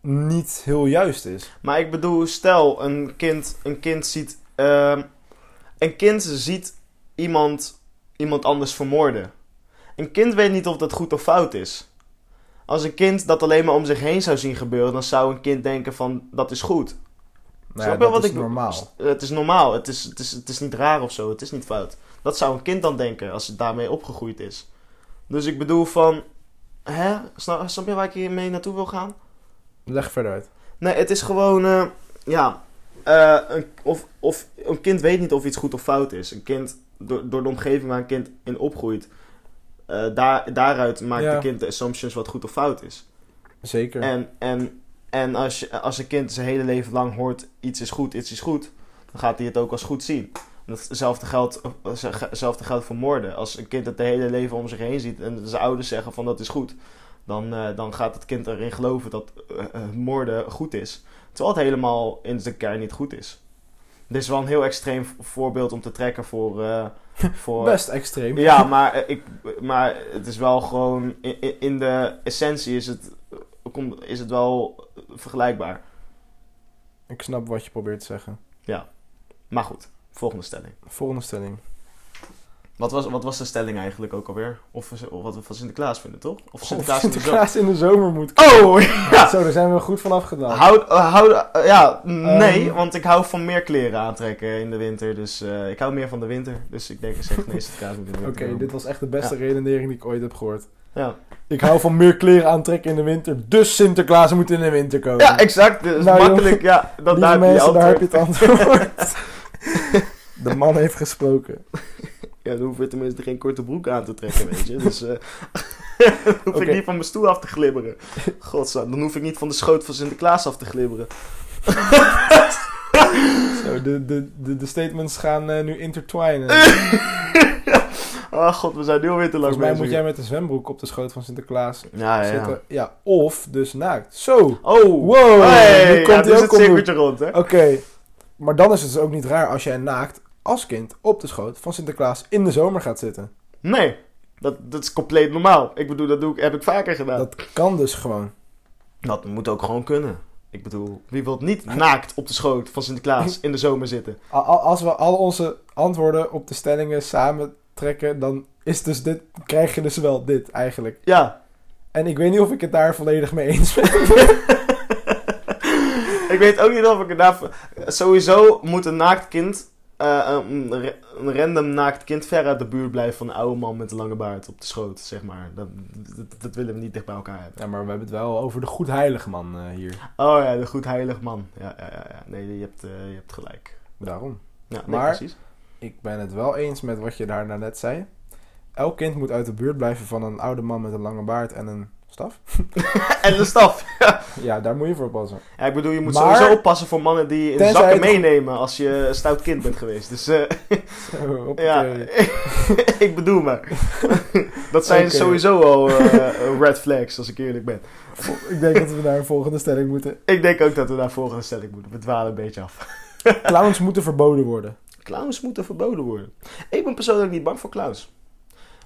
S1: niet heel juist is.
S2: Maar ik bedoel, stel een kind, een kind ziet. ehm, een kind ziet iemand, iemand anders vermoorden. Een kind weet niet of dat goed of fout is. Als een kind dat alleen maar om zich heen zou zien gebeuren, dan zou een kind denken van dat is goed.
S1: Nou, ja,
S2: Snap je
S1: dat
S2: wat
S1: is
S2: ik bedoel?
S1: normaal.
S2: Het is normaal, het is, het, is, het is niet raar of zo, het is niet fout. Dat zou een kind dan denken als het daarmee opgegroeid is. Dus ik bedoel van, hè, snap, snap je waar ik hiermee naartoe wil gaan?
S1: Leg verder uit.
S2: Nee, het is gewoon, eh, ja, eh, een, of, of, een kind weet niet of iets goed of fout is. Een kind, door, door de omgeving waar een kind in opgroeit, eh, daar, daaruit maakt
S1: Ja.
S2: een kind de assumptions wat goed of fout is.
S1: Zeker.
S2: En, en, en als, je, als een kind zijn hele leven lang hoort, iets is goed, iets is goed, dan gaat hij het ook als goed zien. En Datzelfde geldt, eh, ze- hetzelfde geldt voor moorden. Als een kind het de hele leven om zich heen ziet en zijn ouders zeggen van dat is goed, dan, eh, dan gaat het kind erin geloven dat eh, eh, moorden goed is. Terwijl het helemaal in zijn kern niet goed is. Dit is wel een heel extreem v- voorbeeld om te trekken voor... eh, voor
S1: Best extreem.
S2: ja, maar, eh, ik, maar het is wel gewoon... i- i- In de essentie is het, kom- is het wel vergelijkbaar.
S1: Ik snap wat je probeert te zeggen.
S2: Maar goed, volgende stelling.
S1: Volgende stelling.
S2: Wat was, wat was de stelling eigenlijk ook alweer? Of, we- of wat we van Sinterklaas vinden, toch? Of
S1: Oh, Sinterklaas,
S2: Sinterklaas, in de zomer?
S1: in de zomer moet
S2: Oh, ja!
S1: Zo, daar zijn we goed vanaf gedaan.
S2: Houd, eh, houd, eh, ja, nee,
S1: Oh, Ehm.
S2: want ik hou van meer kleren aantrekken in de winter. Dus eh, ik hou meer van de winter. Dus ik denk, ik zeg nee, Sinterklaas moet in de
S1: Oké,
S2: winter. komen.
S1: dit was echt de beste redenering die ik ooit heb gehoord.
S2: Ja,
S1: Ik hou van meer kleren aantrekken in de winter, dus Sinterklaas moet in de winter komen.
S2: ja exact. Dus
S1: Nou, joh.
S2: makkelijk, ja. Dat,
S1: Lieve
S2: daar heb je je
S1: mensen, daar heb
S2: antwoord.
S1: je het antwoord. de man heeft gesproken.
S2: Ja, dan hoef je tenminste geen korte broek aan te trekken, weet je. Dus eh, dan hoef
S1: Oké.
S2: ik niet van mijn stoel af te glibberen. Godzang, dan hoef ik niet van de schoot van Sinterklaas af te glibberen. Eh,
S1: Zo, de, de, de, de statements gaan eh, nu intertwinen.
S2: Oh god, we zijn nu alweer te lang
S1: Volgens mij
S2: bezig.
S1: moet jij met een zwembroek op de schoot van Sinterklaas
S2: Ja, ja, ja.
S1: zitten. Ja, of dus naakt. Zo!
S2: Oh,
S1: Wow, nu
S2: Hey,
S1: komt
S2: ja,
S1: hij
S2: dus
S1: ook
S2: het
S1: om de
S2: cirkeltje rond, hè?
S1: Oké, maar dan is het dus ook niet raar als jij naakt als kind op de schoot van Sinterklaas in de zomer gaat zitten.
S2: Nee, dat, dat is compleet normaal. Ik bedoel, dat doe ik, heb ik vaker gedaan. Dat...
S1: Dat kan dus gewoon.
S2: moet ook gewoon kunnen. Ik bedoel, wie wil niet naakt op de schoot van Sinterklaas in de zomer zitten?
S1: A- a- Als we al onze antwoorden op de stellingen samen trekken, dan is dus dit, krijg je dus wel dit eigenlijk.
S2: Ja,
S1: En ik weet niet of ik het daar volledig mee eens ben.
S2: ik weet ook niet of ik het daarvoor... Sowieso moet een naakt kind, eh, een, ra- een random naakt kind, ver uit de buurt blijven van een oude man met een lange baard op de schoot, zeg maar. Dat, dat, dat willen we niet dicht bij elkaar hebben.
S1: Ja, maar we hebben het wel over de goed heilige man eh, hier.
S2: Oh ja, de goed heilig man. Ja, ja, ja. ja. Nee, je hebt, eh, je hebt gelijk.
S1: Daarom.
S2: Ja, nee,
S1: Maar-
S2: precies.
S1: Ik ben het wel eens met wat je daar nou net zei. Elk kind moet uit de buurt blijven van een oude man met een lange baard en een staf.
S2: En de staf.
S1: Ja, daar moet je voor passen.
S2: Ja, ik bedoel, je moet
S1: Maar-
S2: sowieso oppassen voor mannen die in
S1: Tenzij
S2: zakken
S1: het-
S2: meenemen als je een stout kind bent geweest. Dus eh,
S1: Zo, op
S2: ja, ik bedoel maar. dat zijn
S1: Oké.
S2: sowieso al eh, red flags, als ik eerlijk ben.
S1: Ik denk dat we naar een volgende stelling moeten.
S2: Ik denk ook dat we naar volgende stelling moeten. We dwalen een beetje af.
S1: Clowns moeten verboden worden.
S2: Clowns moeten verboden worden. Ik ben persoonlijk niet bang voor clowns.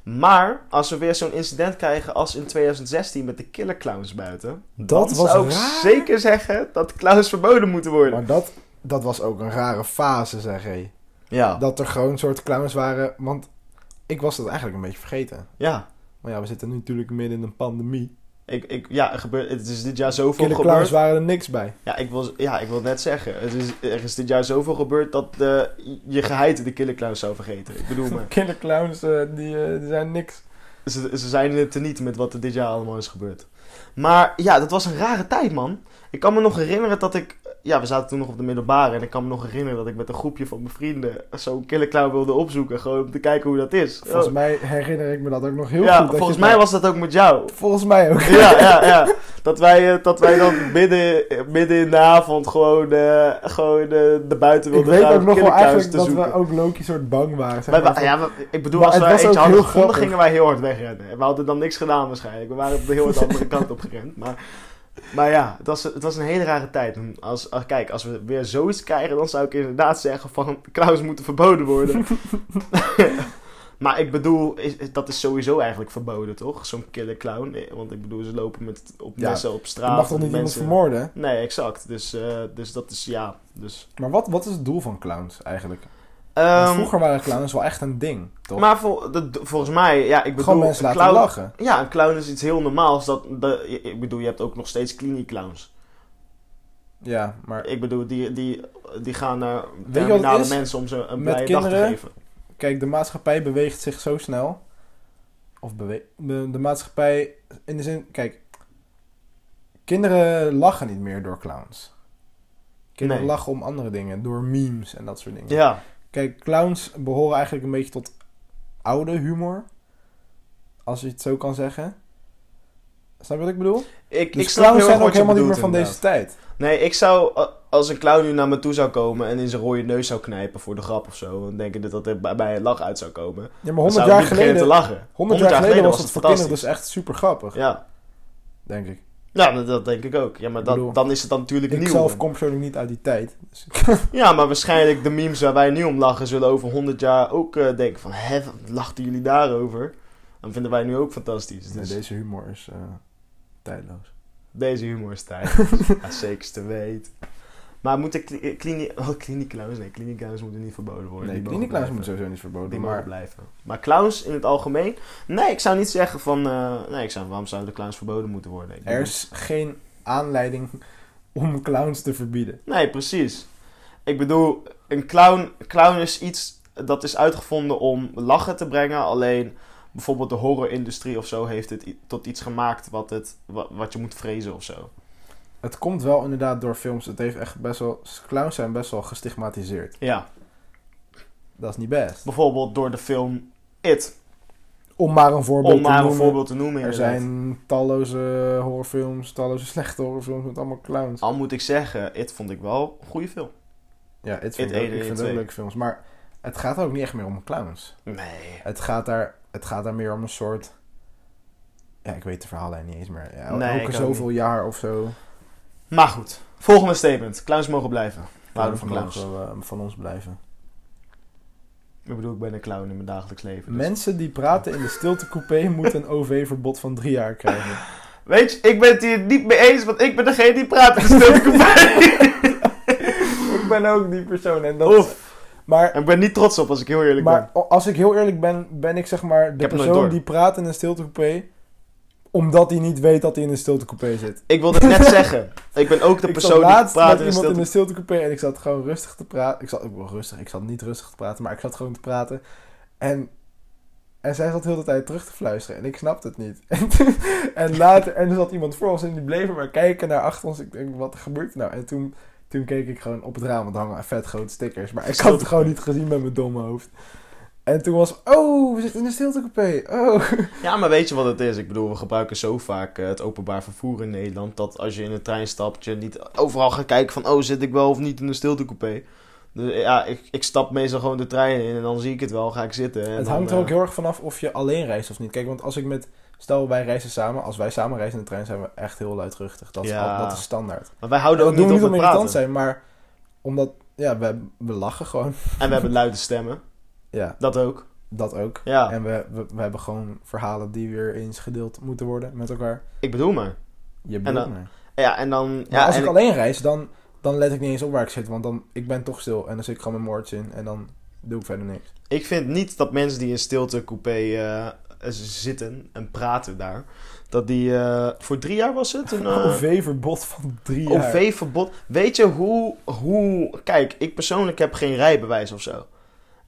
S2: Maar als we weer zo'n incident krijgen als in 2016 met de killer clowns buiten,
S1: Dat
S2: dan
S1: was
S2: zou ik
S1: raar.
S2: zeker zeggen dat clowns verboden moeten worden.
S1: Maar dat, dat was ook een rare fase, zeg hé.
S2: Ja,
S1: Dat er gewoon een soort clowns waren, want ik was dat eigenlijk een beetje vergeten.
S2: ja.
S1: Maar ja, we zitten nu natuurlijk midden in een pandemie.
S2: Ik, ik, ja, er gebeurt, het is dit jaar zoveel
S1: Killer
S2: gebeurd.
S1: clowns waren er niks bij.
S2: Ja, ik wil, ja, ik wil net zeggen. Het is, er is dit jaar zoveel gebeurd dat eh, je geheid de killer clowns zou vergeten. Ik bedoel maar.
S1: Killer clowns, eh, die, zijn niks.
S2: Ze, ze zijn er teniet met wat er dit jaar allemaal is gebeurd. Maar ja, dat was een rare tijd, man. Ik kan me nog herinneren dat ik... Ja, we zaten toen nog op de middelbare. En ik kan me nog herinneren dat ik met een groepje van mijn vrienden... zo'n killer clown wilde opzoeken. Gewoon om te kijken hoe dat is. Oh.
S1: Volgens mij herinner ik me dat ook nog heel
S2: ja,
S1: goed. dat
S2: volgens
S1: je
S2: mij
S1: het-
S2: was dat ook met jou.
S1: Volgens mij ook.
S2: Ja, ja, ja. Dat wij, eh, dat wij dan midden, midden in de avond gewoon, eh gewoon eh naar buiten
S1: Ik
S2: wilden
S1: weet
S2: gaan
S1: ook
S2: om
S1: nog wel
S2: killerclowns
S1: eigenlijk
S2: te
S1: dat
S2: zoeken.
S1: we ook Loki soort bang waren. Zeg
S2: Wij
S1: maar,
S2: wa- ja, we- ik bedoel,
S1: Maar
S2: als
S1: het
S2: wij
S1: was
S2: eentje
S1: ook
S2: hadden
S1: heel
S2: gevonden,
S1: grappig.
S2: gingen wij heel hard wegrennen. En we hadden dan niks gedaan waarschijnlijk. We waren op de heel de andere kant op gerend. Maar, maar ja, het was, het was een hele rare tijd. En Als, als- kijk, als we weer zoiets krijgen, dan zou ik inderdaad zeggen van... Clowns moeten verboden worden. maar ik bedoel, is- is- dat is sowieso eigenlijk verboden, toch? Zo'n killer clown. Nee, Want ik bedoel, ze lopen met, op
S1: Ja,
S2: mensen op straat.
S1: je mag toch niet iemand
S2: mensen...
S1: vermoorden?
S2: Nee, exact. Dus, eh, dus dat is, ja... Dus,
S1: Maar wat, wat is het doel van clowns eigenlijk? Want
S2: Ehm,
S1: vroeger waren clowns wel echt een ding, toch?
S2: maar vol- dat- volgens mij, ja, ik bedoel...
S1: Gewoon mensen laten
S2: clown-
S1: lachen.
S2: Ja, een clown is iets heel normaals. Dat de, ik bedoel, je hebt ook nog steeds kliniekclowns.
S1: Ja, maar
S2: Ik bedoel, die, die, die gaan naar
S1: het
S2: terminale
S1: is?
S2: mensen om ze een
S1: Met
S2: blije dag
S1: kinderen?
S2: te geven.
S1: kijk, de maatschappij beweegt zich zo snel. Of bewe de, de maatschappij in de zin, kijk, kinderen lachen niet meer door clowns. Kinderen
S2: Nee.
S1: lachen om andere dingen, door memes en dat soort dingen.
S2: Ja,
S1: Kijk, clowns behoren eigenlijk een beetje tot oude humor. Als je het zo kan zeggen. Snap je wat ik bedoel?
S2: ik,
S1: Dus
S2: ik
S1: clowns
S2: snap heel erg
S1: zijn ook
S2: wat je
S1: helemaal niet meer
S2: bedoelt,
S1: van deze
S2: inderdaad.
S1: tijd.
S2: Nee, ik zou, a- als een clown nu naar me toe zou komen en in zijn rode neus zou knijpen voor de grap of zo, dan denk ik dat dat er bij bij een lach uit zou komen.
S1: Ja, maar
S2: Dan
S1: 100
S2: zou ik
S1: jaar
S2: niet beginnen
S1: geleden,
S2: te lachen.
S1: 100 jaar geleden was het voor kinderen
S2: fantastisch.
S1: dus echt super grappig,
S2: Ja.
S1: denk ik.
S2: ja, dat, dat denk ik ook. Ja, maar
S1: Ik
S2: dat,
S1: bedoel,
S2: dan is het dan natuurlijk
S1: Ik
S2: nieuw.
S1: zelf kom persoonlijk niet uit die tijd. Dus
S2: Ja, maar waarschijnlijk de memes waar wij nu om lachen zullen over 100 jaar ook eh, denken van... Hè, wat lachten jullie daarover? Dan vinden wij nu ook fantastisch.
S1: Nee,
S2: Dus
S1: deze humor is eh, tijdloos.
S2: deze humor is tijd. ja, zeker te weten. Maar moeten kli- eh, klini- oh, kliniekclowns... Nee, kliniekclowns moeten niet verboden worden.
S1: Nee,
S2: Die mogen
S1: kliniekluis moet
S2: blijven.
S1: sowieso niet verboden.
S2: Die mogen
S1: maar
S2: blijven. Maar clowns in het algemeen? Nee, ik zou niet zeggen van... eh, nee, ik zou, waarom zouden clowns verboden moeten worden? Ik
S1: er is geen aanleiding om clowns te verbieden.
S2: Nee, precies. Ik bedoel, een clown, clown is iets dat is uitgevonden om lachen te brengen. Alleen bijvoorbeeld de horrorindustrie of zo heeft het i- tot iets gemaakt wat, het, wa- wat je moet vrezen of zo.
S1: Het komt wel inderdaad door films. Het heeft echt best wel, clowns zijn best wel gestigmatiseerd.
S2: Ja,
S1: Dat is niet best.
S2: bijvoorbeeld door de film It.
S1: Om maar een voorbeeld
S2: Om maar
S1: te
S2: een
S1: noemen.
S2: voorbeeld te noemen.
S1: er
S2: inderdaad.
S1: zijn talloze horrorfilms, talloze slechte horrorfilms met allemaal clowns.
S2: Al moet ik zeggen, It vond ik wel een goede film.
S1: Ja, het
S2: It
S1: vind ik, ook-
S2: één en
S1: ik vind
S2: It
S1: ook
S2: twee.
S1: leuke films. Maar Het gaat ook niet echt meer om clowns.
S2: Nee.
S1: Het gaat daar, het gaat daar meer om een soort... Ja, ik weet de verhalen niet eens meer. Ja, el-
S2: Nee, ik
S1: elke
S2: ook
S1: zoveel jaar of zo.
S2: Maar goed, volgende statement. Clowns mogen blijven. We
S1: Clowns
S2: houden van
S1: mogen
S2: clowns.
S1: wel, eh, van ons blijven.
S2: Ik bedoel, ik ben een clown in mijn dagelijks leven. dus-
S1: Mensen die praten in de stiltecoupé moeten een OV-verbod van drie jaar krijgen.
S2: Weet je, ik ben het hier niet mee eens, want ik ben degene die praat in de stilte voorbij.
S1: ik ben ook die persoon. En dat...
S2: Oef.
S1: Maar,
S2: En ik ben niet trots op als ik heel eerlijk
S1: maar als ik heel eerlijk ben, ben ik zeg maar de
S2: heb het nooit
S1: persoon
S2: door.
S1: die praat in een stiltecoupé... omdat hij niet weet dat hij in een stiltecoupé zit.
S2: ben. Ik wilde het net zeggen. Ik ben ook de
S1: ik
S2: persoon
S1: zat
S2: die
S1: laatst
S2: praat
S1: met
S2: in de
S1: iemand in
S2: stilte.
S1: een stiltecoupé en ik zat gewoon rustig te praten. Ik zat ook wel rustig, ik zat niet rustig te praten, maar ik zat gewoon te praten. En, en zij zat heel de tijd terug te fluisteren en ik snapte het niet. En, toen- en later, en er zat iemand voor ons en die bleven maar kijken naar achter ons. Ik denk, wat gebeurt er nou? En toen, toen keek ik gewoon op het raam, want er hangen vet grote stickers. Maar ik had het gewoon niet gezien met mijn domme hoofd. En toen was, oh, we zitten in een stiltecoupé. Oh.
S2: Ja, maar weet je wat het is? Ik bedoel, we gebruiken zo vaak eh, het openbaar vervoer in Nederland. Dat als je in een trein stapt, je niet overal gaat kijken van... Oh, zit ik wel of niet in een stiltecoupé? Dus eh, ja, ik, ik stap meestal gewoon de trein in en dan zie ik het wel. Ga ik zitten. En
S1: Het
S2: dan,
S1: hangt er ook
S2: eh,
S1: heel erg vanaf of je alleen reist of niet. Kijk, want als ik met... Stel, wij reizen samen. Als wij samen reizen in de trein, zijn we echt heel luidruchtig. Dat, is
S2: Ja. Oh,
S1: al- dat is standaard.
S2: Maar wij houden ook
S1: dat doen we
S2: niet
S1: niet
S2: op
S1: om
S2: met
S1: irritant te
S2: praten.
S1: zijn, maar... Omdat... Ja, we, we lachen gewoon.
S2: En we hebben luide stemmen.
S1: Ja,
S2: Dat ook.
S1: dat ook.
S2: Ja,
S1: En we, we, we hebben gewoon verhalen die weer eens gedeeld moeten worden met elkaar.
S2: ik bedoel maar.
S1: Je
S2: dan-
S1: bedoelt me.
S2: Ja, en dan...
S1: Maar
S2: Ja,
S1: als
S2: en
S1: ik
S2: ik-
S1: alleen reis, dan, dan let ik niet eens op waar ik zit. Want dan, ik ben toch stil en dan zit ik gewoon mijn moords in en dan doe ik verder niks.
S2: Ik vind niet dat mensen die in stiltecoupé eh zitten en praten daar, dat die eh, voor drie jaar was het een eh,
S1: OV-verbod van drie Oh, jaar.
S2: OV-verbod. Weet je hoe, hoe. Kijk, ik persoonlijk heb geen rijbewijs of zo.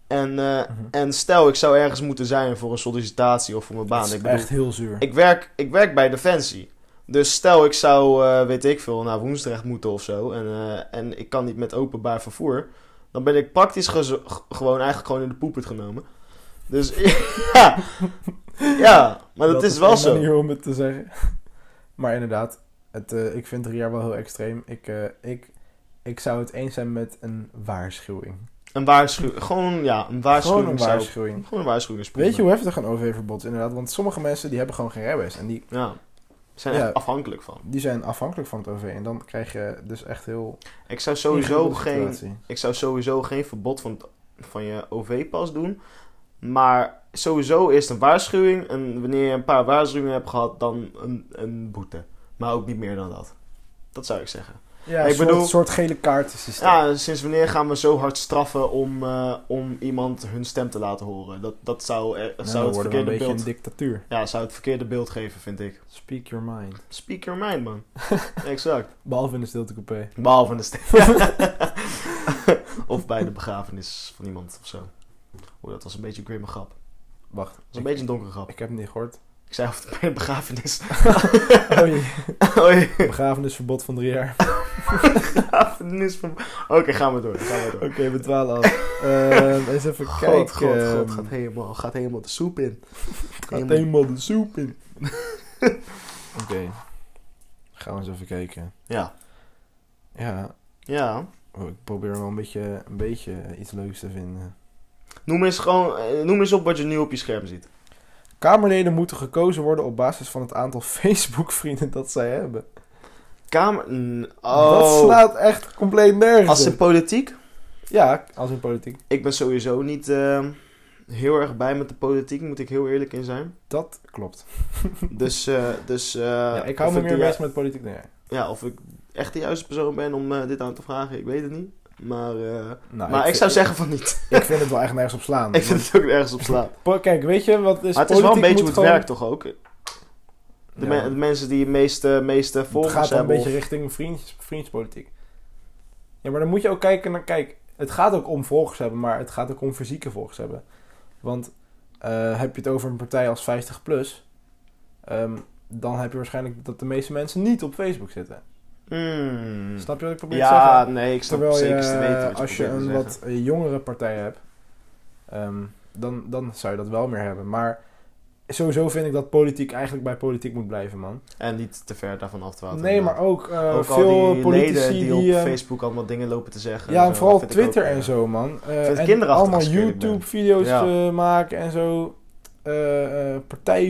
S2: En, eh,
S1: Mhm.
S2: en stel, ik zou ergens moeten zijn voor een sollicitatie of voor mijn
S1: Dat
S2: baan.
S1: is
S2: Ik bedoel,
S1: echt heel zuur.
S2: ik werk, ik werk bij Defensie. Dus stel ik zou, eh, weet ik veel, naar Woensdrecht moeten of zo. En, eh, en ik kan niet met openbaar vervoer. Dan ben ik praktisch gezo- g- gewoon eigenlijk gewoon in de poepert genomen. Dus ja. ja, maar dat, is wel
S1: één
S2: zo.
S1: manier om het te zeggen. Maar inderdaad, het, eh, ik vind drie jaar wel heel extreem. Ik, eh, ik, ik zou het eens zijn met een waarschuwing.
S2: Een waarschuwing. Gewoon, ja, een waarschuwing.
S1: Gewoon een
S2: zou-
S1: waarschuwing.
S2: Gewoon een waarschuwing. is
S1: Weet je
S2: prima.
S1: hoe heftig een OV-verbod is inderdaad? Want sommige mensen die hebben gewoon geen rijbewijs. En die,
S2: Ja. Zijn
S1: Ja.
S2: echt afhankelijk van.
S1: die zijn afhankelijk van het OV. En dan krijg je dus echt heel...
S2: Ik zou sowieso
S1: ingewikkelde
S2: geen
S1: situatie.
S2: Ik zou sowieso geen verbod van, van je OV-pas doen. Maar sowieso eerst een waarschuwing. En wanneer je een paar waarschuwingen hebt gehad, dan een, een boete. Maar ook niet meer dan dat. Dat zou ik zeggen.
S1: Ja,
S2: Ik
S1: een soort,
S2: bedoel-
S1: soort gele kaartensysteem.
S2: Ja, sinds wanneer gaan we zo hard straffen om, eh, om iemand hun stem te laten horen? Dat, dat zou, er-
S1: Nou,
S2: zou
S1: dan
S2: het
S1: worden we een
S2: verkeerde
S1: beetje
S2: beeld...
S1: een dictatuur.
S2: Ja, zou het verkeerde beeld geven, vind ik.
S1: Speak your mind.
S2: Speak your mind, man. exact.
S1: Behalve in de stiltecoupé.
S2: Behalve in de stem. of bij de begrafenis van iemand of zo. Oeh, dat was een beetje een grimme grap.
S1: Wacht,
S2: Dat is
S1: ik,
S2: een beetje een donkere grap.
S1: ik heb het niet gehoord.
S2: Ik zei of het bij een begrafenis.
S1: Oh, je-
S2: Oei,
S1: begrafenisverbod van drie jaar.
S2: begrafenis. van- Oké, gaan we door. Gaan we door.
S1: Oké, we dwalen af. Ehm, eens even
S2: God,
S1: kijken.
S2: God, God,
S1: Ehm,
S2: gaat helemaal, gaat helemaal de soep in.
S1: gaat
S2: helemaal-
S1: helemaal de soep in. Oké. Gaan we eens even kijken.
S2: Ja.
S1: Ja,
S2: Ja.
S1: oh, ik probeer wel een beetje, een beetje eh, iets leuks te vinden.
S2: Noem eens, gewoon, eh, noem eens op wat je nu op je scherm ziet.
S1: Kamerleden moeten gekozen worden op basis van het aantal Facebook-vrienden dat zij hebben.
S2: Kamer... n- Oh.
S1: Dat slaat echt compleet nergens
S2: Als in
S1: op.
S2: politiek?
S1: Ja, als in politiek.
S2: Ik ben sowieso niet eh, heel erg bij met de politiek, moet ik heel eerlijk in zijn.
S1: Dat klopt.
S2: Dus, eh, dus eh,
S1: ja, ik hou
S2: of
S1: me
S2: de
S1: meer
S2: ju-
S1: bezig met politiek. Nee,
S2: Ja, of ik echt de juiste persoon ben om eh, dit aan te vragen, ik weet het niet. Maar, eh,
S1: nou,
S2: maar ik,
S1: vind-
S2: zou zeggen van niet.
S1: Ik vind het wel echt nergens op slaan.
S2: ik vind het ook ergens op slaan.
S1: Want- Kijk, weet je wat is
S2: Maar het is wel een
S1: Dus politiek
S2: beetje hoe
S1: moet
S2: het
S1: gewoon-
S2: werkt toch ook? De,
S1: Ja,
S2: me-
S1: maar-
S2: de mensen die de meeste, meeste
S1: Het
S2: volgers
S1: gaat dan een
S2: hebben.
S1: beetje richting vriends, vriendspolitiek. Ja, maar dan moet je ook kijken naar... Kijk, het gaat ook om volgers hebben, maar het gaat ook om fysieke volgers hebben. Want eh, heb je het over een partij als 50 plus... ehm, dan heb je waarschijnlijk dat de meeste mensen niet op Facebook zitten.
S2: of- Hmm.
S1: Snap je wat ik probeer te
S2: Ja,
S1: zeggen?
S2: nee, ik snap
S1: Terwijl
S2: zeker
S1: je,
S2: te weten wat je
S1: als je
S2: probeert te
S1: een
S2: zeggen.
S1: wat eh, jongere partij hebt... ehm, dan, dan zou je dat wel meer hebben. Maar sowieso vind ik dat politiek eigenlijk bij politiek moet blijven, man.
S2: En niet te ver daarvan af te water.
S1: nee, maar ook, eh,
S2: ook al
S1: veel
S2: die
S1: politici
S2: leden
S1: die...
S2: die, op
S1: eh,
S2: Facebook allemaal dingen lopen te zeggen.
S1: ja, en
S2: zo,
S1: vooral
S2: vind ik
S1: Twitter
S2: ook,
S1: en
S2: eh,
S1: zo, man. Eh,
S2: vind het
S1: en
S2: kinderachtig,
S1: allemaal
S2: als ik eerlijk ben.
S1: YouTube-video's
S2: Ja.
S1: eh, maken en zo. Eh, eh,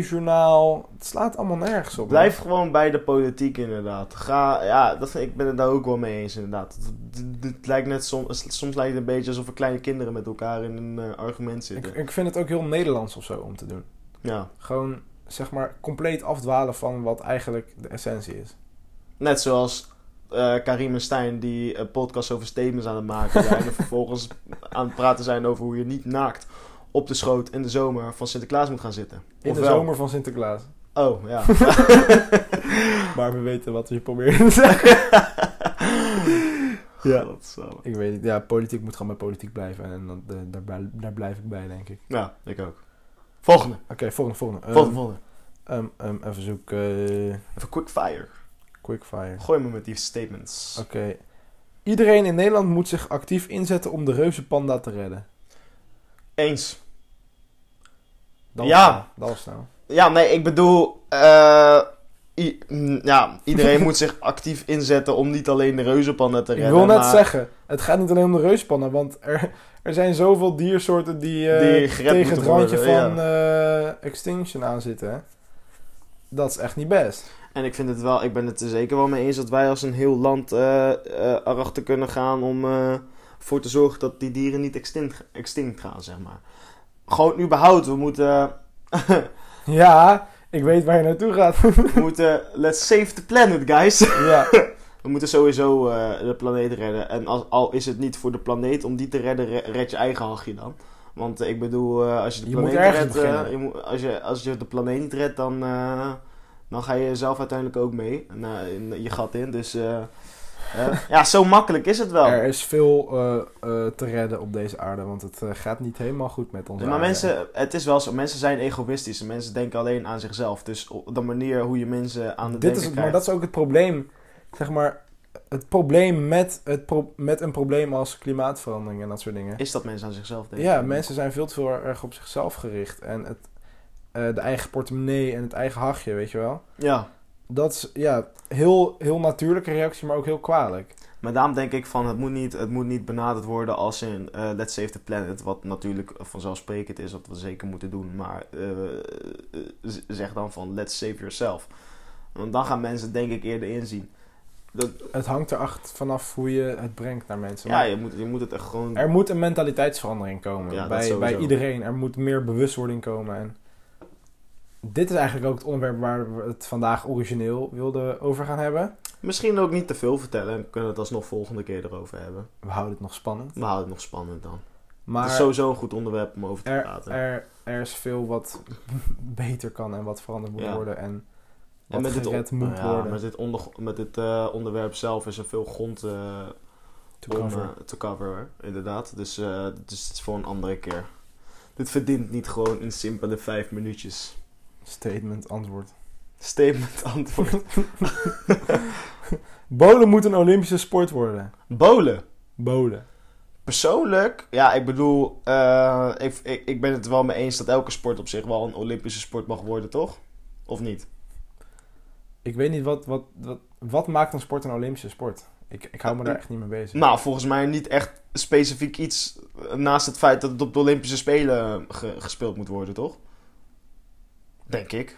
S1: partijjournaal. Het slaat allemaal nergens op. man.
S2: Blijf gewoon bij de politiek inderdaad. Ga, ja, dat vind, ik ben het daar ook wel mee eens inderdaad. Het, het- het lijkt net soms, soms lijkt het een beetje alsof er kleine kinderen met elkaar in een eh, argument
S1: Ik,
S2: zitten.
S1: ik vind het ook heel Nederlands of zo om te doen.
S2: Ja,
S1: Gewoon, zeg maar, compleet afdwalen van wat eigenlijk de essentie is.
S2: net zoals eh, Karim en Stijn die een podcast over statements aan het maken zijn. en vervolgens aan het praten zijn over hoe je niet naakt op de schoot in de zomer van Sinterklaas moet gaan zitten.
S1: In de
S2: Ofwel-
S1: zomer van Sinterklaas.
S2: Oh, ja.
S1: Maar we weten wat we hier proberen te zeggen. Ja.
S2: Godsamme.
S1: Ik weet niet, ja, politiek moet gewoon bij politiek blijven. En dan, eh, daar, blij- daar blijf ik bij, denk ik.
S2: Ja, ik ook. Volgende.
S1: Oké, volgende, volgende. Ehm,
S2: Volgende, volgende.
S1: ehm, ehm, even zoeken. eh,
S2: Even quick fire.
S1: quickfire.
S2: Gooi me met die statements.
S1: Oké. Iedereen in Nederland moet zich actief inzetten om de reuzenpanda te redden.
S2: Eens.
S1: Dat
S2: Ja.
S1: was nou- Dat was nou.
S2: Ja, nee, ik bedoel... eh, i- mm, ja, iedereen moet zich actief inzetten om niet alleen de reuzenpanda te
S1: Ik
S2: redden.
S1: wil net
S2: maar
S1: zeggen, het gaat niet alleen om de reuzenpanda, want er, er zijn zoveel diersoorten die, eh,
S2: Die gered
S1: tegen
S2: moeten
S1: het randje
S2: worden,
S1: van eh, extinction aan zitten. hè. Dat is echt niet best.
S2: En ik, vind het wel, ik ben het er zeker wel mee eens dat wij als een heel land eh, eh, erachter kunnen gaan om eh voor te zorgen dat die dieren niet extinct, extinct gaan, zeg maar. Gewoon überhaupt, we moeten,
S1: Ja, ik weet waar je naartoe gaat.
S2: we moeten, let's save the planet, guys.
S1: ja.
S2: We moeten sowieso eh, de planeet redden. En als, al is het niet voor de planeet om die te redden, re- red je eigen hachje dan. Want eh, ik bedoel, eh, als je de
S1: Je moet
S2: planeet
S1: ergens
S2: redt, eh,
S1: beginnen.
S2: je moet- als, je, als je de planeet niet redt, dan, eh, dan ga je zelf uiteindelijk ook mee. En, eh, in je gat in. Dus eh, eh, ja, zo makkelijk is het wel.
S1: Er is veel eh, eh, te redden op deze aarde, want het eh, gaat niet helemaal goed met onze
S2: maar
S1: aarde.
S2: mensen, het is wel zo. Mensen zijn egoïstisch. En mensen denken alleen aan zichzelf. Dus op de manier hoe je mensen aan de
S1: Dit
S2: denken
S1: is, het- maar
S2: krijgt.
S1: dat is ook het probleem. Zeg maar, het probleem met, het pro- met een probleem als klimaatverandering en dat soort dingen.
S2: Is dat mensen aan zichzelf denken?
S1: Ja, mensen zijn veel te veel erg op zichzelf gericht. En het, eh, de eigen portemonnee en het eigen hachje, weet je wel.
S2: Ja.
S1: Dat is ja, heel, heel natuurlijke reactie, maar ook heel kwalijk.
S2: Maar daarom denk ik van het moet niet, het moet niet benaderd worden als in eh, Let's Save the Planet. Wat natuurlijk vanzelfsprekend is dat we zeker moeten doen. Maar eh, eh, z- zeg dan van Let's Save Yourself. Want dan gaan mensen denk ik eerder inzien. Dat,
S1: Het hangt erachter vanaf hoe je het brengt naar mensen.
S2: ja,
S1: Maar
S2: je moet, je moet het echt gewoon...
S1: Er moet een mentaliteitsverandering komen
S2: Ja, dat
S1: bij,
S2: sowieso.
S1: bij iedereen. Er moet meer bewustwording komen. En dit is eigenlijk ook het onderwerp waar we het vandaag origineel wilden over gaan hebben.
S2: Misschien ook niet te veel vertellen. We kunnen het alsnog volgende keer erover hebben.
S1: We houden het nog spannend.
S2: We houden het nog spannend dan.
S1: Maar
S2: het is sowieso een goed onderwerp om over te
S1: er,
S2: praten.
S1: er, er is veel wat beter kan en wat veranderd moet
S2: Ja.
S1: worden. En wat
S2: en met dit,
S1: gered
S2: on-
S1: moet
S2: ja,
S1: worden.
S2: met dit, onder, met dit eh, onderwerp zelf is er veel grond... eh,
S1: to
S2: om
S1: cover.
S2: eh, te coveren, inderdaad. Dus, eh, dus het is voor een andere keer. Dit verdient niet gewoon een simpele vijf minuutjes.
S1: Statement, antwoord.
S2: Statement antwoord.
S1: Bolen moet een Olympische sport worden.
S2: Bolen.
S1: Bolen.
S2: Persoonlijk, ja, ik bedoel, eh, ik, ik, ik ben het wel mee eens dat elke sport op zich wel een Olympische sport mag worden, toch? Of niet?
S1: Ik weet niet, wat, wat, wat, wat maakt een sport een Olympische sport? Ik, ik hou me daar echt niet mee bezig.
S2: Nou, volgens mij niet echt specifiek iets eh, naast het feit dat het op de Olympische Spelen ge- gespeeld moet worden, toch? Denk ik.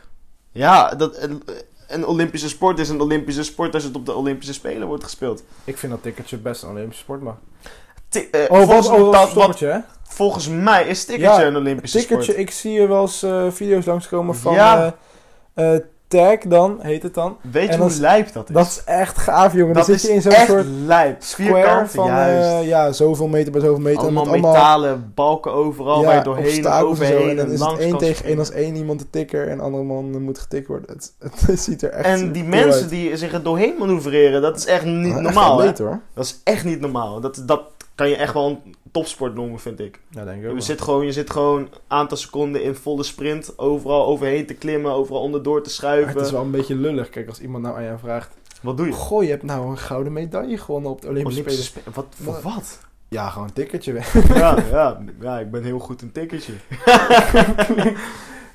S2: Ja, dat, een, een Olympische sport is een Olympische sport als het op de Olympische Spelen wordt gespeeld.
S1: Ik vind dat ticketje best een Olympische sport mag.
S2: Ti- eh,
S1: Oh,
S2: volgens,
S1: wat, oh,
S2: dat-
S1: dat stoppertje, hè?
S2: volgens mij is tikkertje
S1: Ja,
S2: een Olympische
S1: Tikkertje,
S2: sport.
S1: ik zie er wel eens eh, video's langskomen van...
S2: Ja.
S1: eh, eh, tag dan, heet het dan.
S2: Weet je
S1: en
S2: hoe
S1: dat-
S2: lijp dat is?
S1: Dat is echt gaaf, jongen.
S2: Dat
S1: dan
S2: is
S1: zit je in zo'n
S2: echt
S1: soort
S2: lijp.
S1: square
S2: Vierkant,
S1: van
S2: juist.
S1: eh, ja, zoveel meter bij zoveel meter. en
S2: allemaal
S1: met
S2: metalen balken overal waar je doorheen
S1: obstakels en zo.
S2: overheen
S1: En dan is het
S2: langs
S1: één
S2: kan
S1: tegen één
S2: springen.
S1: als één iemand de tikker en de andere man eh, moet getikt worden. Het, het ziet er echt
S2: En die
S1: cool
S2: mensen
S1: uit.
S2: die zich er doorheen manoeuvreren, dat is echt niet
S1: Echt
S2: normaal. hè?
S1: atleet, hoor.
S2: Dat is echt niet normaal. Dat, dat kan je echt wel een topsport noemen, vind ik.
S1: Ja, denk ik
S2: Je zit, gewoon, je zit gewoon een aantal seconden in volle sprint. Overal overheen te klimmen, overal onderdoor te
S1: het is
S2: schuiven.
S1: wel een beetje lullig. Kijk, als iemand nou aan jou vraagt...
S2: Wat doe je?
S1: Goh, je hebt nou een gouden medaille gewonnen op de Olympische
S2: Olympische
S1: Spelen.
S2: Spelen. Wat? Voor wat?
S1: Ja, gewoon een tikkertje weg.
S2: ja, ja, ja, ik ben heel goed een tikkertje.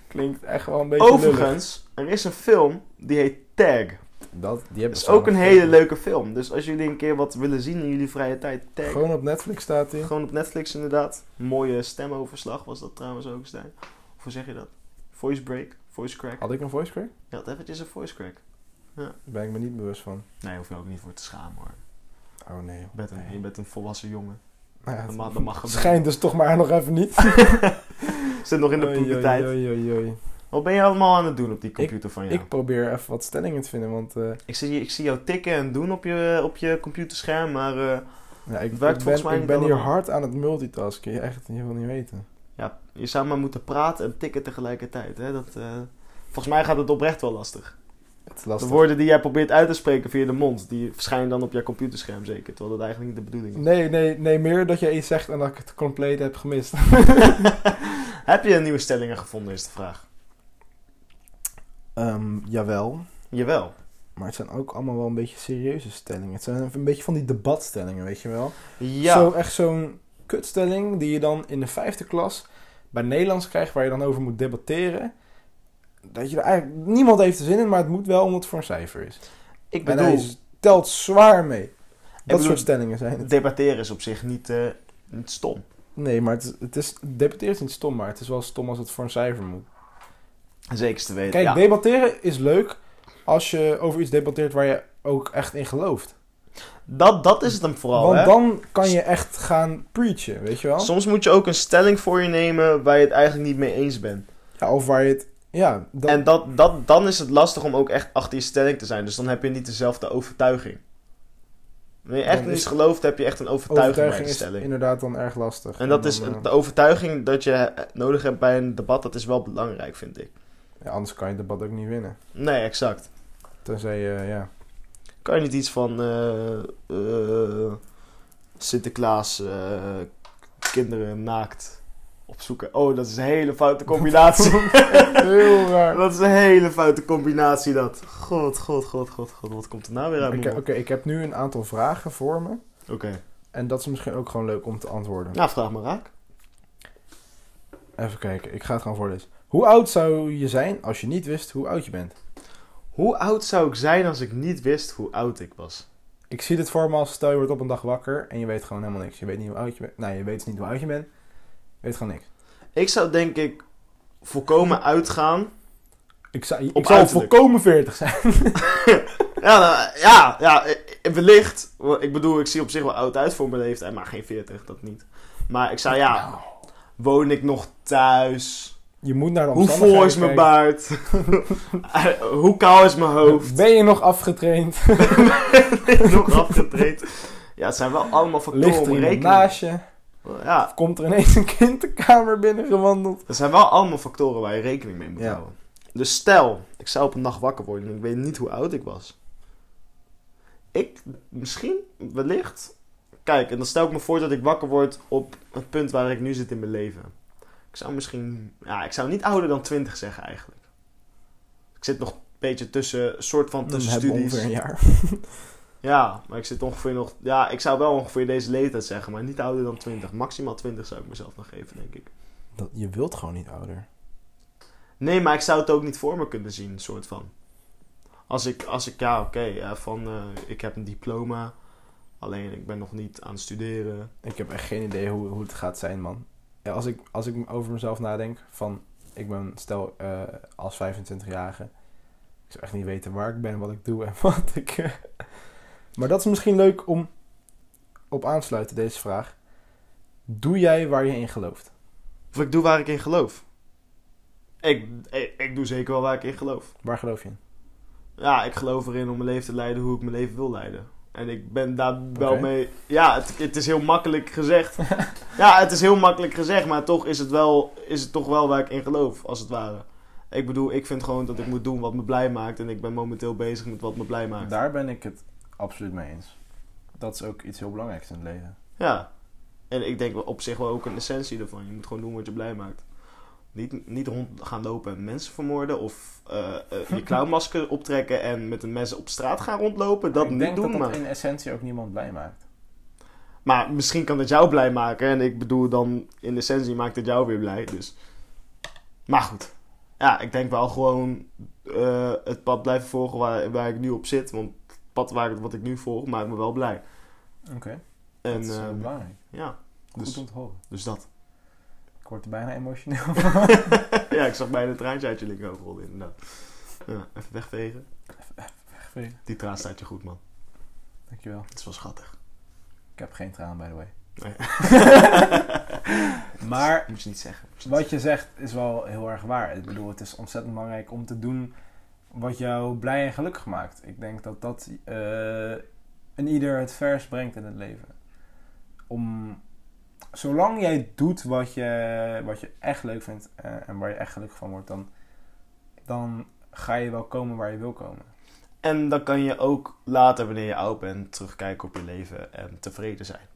S1: Klinkt echt wel een beetje lullig.
S2: Overigens, er is een film die heet Tag.
S1: Dat, die hebben
S2: Dat is
S1: samen
S2: ook een
S1: gekeken.
S2: hele leuke film. Dus als jullie een keer wat willen zien in jullie vrije tijd, Tag.
S1: Gewoon op Netflix staat hij.
S2: Gewoon op Netflix inderdaad. Mooie stemoverslag was dat trouwens ook, Stijn. Of hoe zeg je dat? Voice break, voice crack.
S1: Had ik een voice crack?
S2: Je had eventjes een voice crack.
S1: Daar ben ik me niet bewust van.
S2: Nee, hoef je ook niet voor te schamen hoor.
S1: Oh nee.
S2: Je bent een, je bent een volwassen jongen.
S1: Nou ja,
S2: Dat
S1: het
S2: mag, dat mag gebeuren.
S1: schijnt dus toch maar nog even niet.
S2: Zit nog in de
S1: Oei, oei,
S2: puberteit.
S1: oei, oei, oei.
S2: Wat ben je allemaal aan het doen op die computer van jou?
S1: Ik probeer even wat stellingen te vinden, want eh,
S2: Ik zie, je- ik zie jou tikken en doen op je, op je computerscherm, maar eh,
S1: ja, ik,
S2: Het werkt
S1: ik
S2: volgens
S1: ben,
S2: mij
S1: ik
S2: niet
S1: ben hier
S2: allemaal.
S1: hard aan het multitasken. Je Echt, je wil niet weten.
S2: ja, je zou maar moeten praten en tikken tegelijkertijd. Hè? Dat, eh, volgens mij gaat het oprecht wel lastig.
S1: Het is lastig.
S2: De woorden die jij probeert uit te spreken via de mond, die verschijnen dan op jouw computerscherm zeker. Terwijl dat eigenlijk niet de bedoeling is.
S1: Nee, nee, nee, meer dat je iets zegt en dat ik het compleet heb gemist.
S2: Heb je nieuwe stellingen gevonden, is de vraag.
S1: Ehm, jawel,
S2: Jawel.
S1: maar het zijn ook allemaal wel een beetje serieuze stellingen. Het zijn een beetje van die debatstellingen, weet je wel.
S2: Ja.
S1: Zo, echt zo'n kutstelling die je dan in de vijfde klas bij Nederlands krijgt, waar je dan over moet debatteren. Dat je er eigenlijk, niemand heeft er zin in, maar het moet wel omdat het voor een cijfer is.
S2: ik
S1: En hij
S2: bedoel,
S1: is- telt zwaar mee. Dat
S2: bedoel-
S1: soort stellingen zijn het.
S2: debatteren is op zich niet, eh, niet stom.
S1: Nee, maar het is, het is, debatteren is niet stom, maar het is wel stom als het voor een cijfer moet.
S2: Zeker te weten.
S1: Kijk,
S2: ja.
S1: debatteren is leuk als je over iets debatteert waar je ook echt in gelooft.
S2: dat, dat is het hem vooral.
S1: Want
S2: hè?
S1: dan kan je echt gaan preachen, weet je wel?
S2: Soms moet je ook een stelling voor je nemen waar je het eigenlijk niet mee eens bent.
S1: Ja, of waar je het... Ja, dat,
S2: En dat, dat, dan is het lastig om ook echt achter je stelling te zijn. Dus dan heb je niet dezelfde overtuiging. Wanneer je echt
S1: Dan
S2: in
S1: is-
S2: iets gelooft, heb je echt een overtuiging,
S1: overtuiging
S2: bij de
S1: is
S2: stelling.
S1: inderdaad dan erg lastig.
S2: En dat
S1: dan,
S2: is
S1: eh,
S2: de overtuiging dat je eh, nodig hebt bij een debat, dat is wel belangrijk, vind ik.
S1: ja, anders kan je het debat ook niet winnen.
S2: Nee, exact.
S1: Tenzij je, ja...
S2: Kan je niet iets van eh, eh, Sinterklaas eh, kinderen naakt opzoeken? Oh, dat is een hele foute combinatie.
S1: Heel raar.
S2: dat is een hele foute combinatie, dat. God, god, god, god, god. Wat komt er nou weer uit?
S1: Ik-
S2: mijn
S1: Oké,
S2: mond?
S1: ik heb nu een aantal vragen voor me.
S2: Oké.
S1: En dat is misschien ook gewoon leuk om te antwoorden.
S2: Nou, vraag maar raak.
S1: Even kijken, ik ga het gewoon voorlezen. Hoe oud zou je zijn als je niet wist hoe oud je bent?
S2: Hoe oud zou ik zijn als ik niet wist hoe oud ik was?
S1: Ik zie dit voor me als stel je wordt op een dag wakker en je weet gewoon helemaal niks. Je weet niet hoe oud je bent. Nee, je weet niet hoe oud je bent. Je weet gewoon niks.
S2: Ik zou denk ik volkomen uitgaan.
S1: Ik zou, ik
S2: Op
S1: zou
S2: uiterlijk.
S1: volkomen 40 zijn.
S2: Ja, nou, ja, ja, eh, wellicht. Want Ik bedoel, ik zie op zich wel oud uit voor mijn leeftijd, maar geen 40, dat niet. Maar ik zou ja,
S1: Nou,
S2: woon ik nog thuis?
S1: je moet naar de
S2: Hoe vol is
S1: omstandigheden
S2: mijn
S1: kijken.
S2: baard? Eh, Hoe kaal is mijn hoofd?
S1: Ben je nog afgetraind?
S2: Ben ik nog afgetraind? Ja, het zijn wel allemaal factoren
S1: Ligt er
S2: om
S1: iemand
S2: rekening.
S1: naast je?
S2: Ja,
S1: Of komt er ineens een kind de kamer binnen gewandeld?
S2: er zijn wel allemaal factoren waar je rekening mee moet
S1: Ja.
S2: houden. Dus stel, ik zou op een nacht wakker worden en ik weet niet hoe oud ik was. Ik, misschien, wellicht. Kijk, en dan stel ik me voor dat ik wakker word op het punt waar ik nu zit in mijn leven. Ik zou misschien, ja, ik zou niet ouder dan 20 zeggen eigenlijk. Ik zit nog een beetje tussen, soort van
S1: Dan
S2: tussen
S1: hebben we
S2: studies.
S1: ongeveer een jaar.
S2: Ja, maar ik zit ongeveer nog, ja, ik zou wel ongeveer deze leeftijd zeggen, maar niet ouder dan 20. Maximaal 20 zou ik mezelf nog geven, denk ik.
S1: Dat, je wilt gewoon niet ouder.
S2: Nee, maar ik zou het ook niet voor me kunnen zien, soort van. Als ik, als ik ja, oké, eh, van eh, ik heb een diploma, alleen ik ben nog niet aan het studeren.
S1: Ik heb echt geen idee hoe, hoe het gaat zijn, man. Ja, als, ik, als ik over mezelf nadenk, van ik ben stel eh, als 25-jarige. Ik zou echt niet weten waar ik ben, wat ik doe en wat ik. eh. Maar dat is misschien leuk om op aansluiten, deze vraag. Doe jij waar je in gelooft?
S2: Of ik doe waar ik in geloof. Ik, ik, ik doe zeker wel waar ik in geloof.
S1: Waar geloof je in?
S2: Ja, ik geloof erin om mijn leven te leiden hoe ik mijn leven wil leiden. En ik ben daar wel
S1: Oké.
S2: mee. Ja, het, het is heel makkelijk gezegd. ja, het is heel makkelijk gezegd, maar toch is het, wel, is het toch wel waar ik in geloof, als het ware. Ik bedoel, ik vind gewoon dat ik moet doen wat me blij maakt. En ik ben momenteel bezig met wat me blij maakt.
S1: Daar ben ik het absoluut mee eens. Dat is ook iets heel belangrijks in het leven.
S2: Ja. En ik denk wel op zich wel ook een essentie ervan. Je moet gewoon doen wat je blij maakt. Niet, niet rond gaan lopen en mensen vermoorden. Of eh, eh, je clownmasker optrekken en met een mes op straat gaan rondlopen. Dat niet doen, maar...
S1: in essentie ook niemand blij maakt.
S2: Maar misschien kan het jou blij maken. En ik bedoel dan, in essentie maakt het jou weer blij. Dus. Maar goed. ja, ik denk wel gewoon eh, het pad blijven volgen waar, waar ik nu op zit. Want het pad waar, wat ik nu volg maakt me wel blij.
S1: Oké,
S2: En
S1: dat is eh,
S2: eh,
S1: belangrijk.
S2: ja,
S1: Goed
S2: dus,
S1: om te horen.
S2: dus dat.
S1: Ik word er bijna emotioneel
S2: ja, ik zag bijna een traantje uit je linkerhoofd rollen inderdaad. Ja, even wegvegen.
S1: van.
S2: Die traan staat je goed, man.
S1: Dankjewel.
S2: Het is wel schattig.
S1: Ik heb geen traan, by the way.
S2: Nee.
S1: Maar
S2: Moet je niet zeggen. Moet je niet
S1: Wat je zegt is wel heel erg waar. Ik bedoel, het is ontzettend belangrijk om te doen wat jou blij en gelukkig maakt. Ik denk dat dat eh, een ieder het vers brengt in het leven. Om, zolang jij doet wat je, wat je echt leuk vindt eh, en waar je echt gelukkig van wordt, dan, dan ga je wel komen waar je wil komen.
S2: En dan kan je ook later, wanneer je oud bent, terugkijken op je leven en tevreden zijn.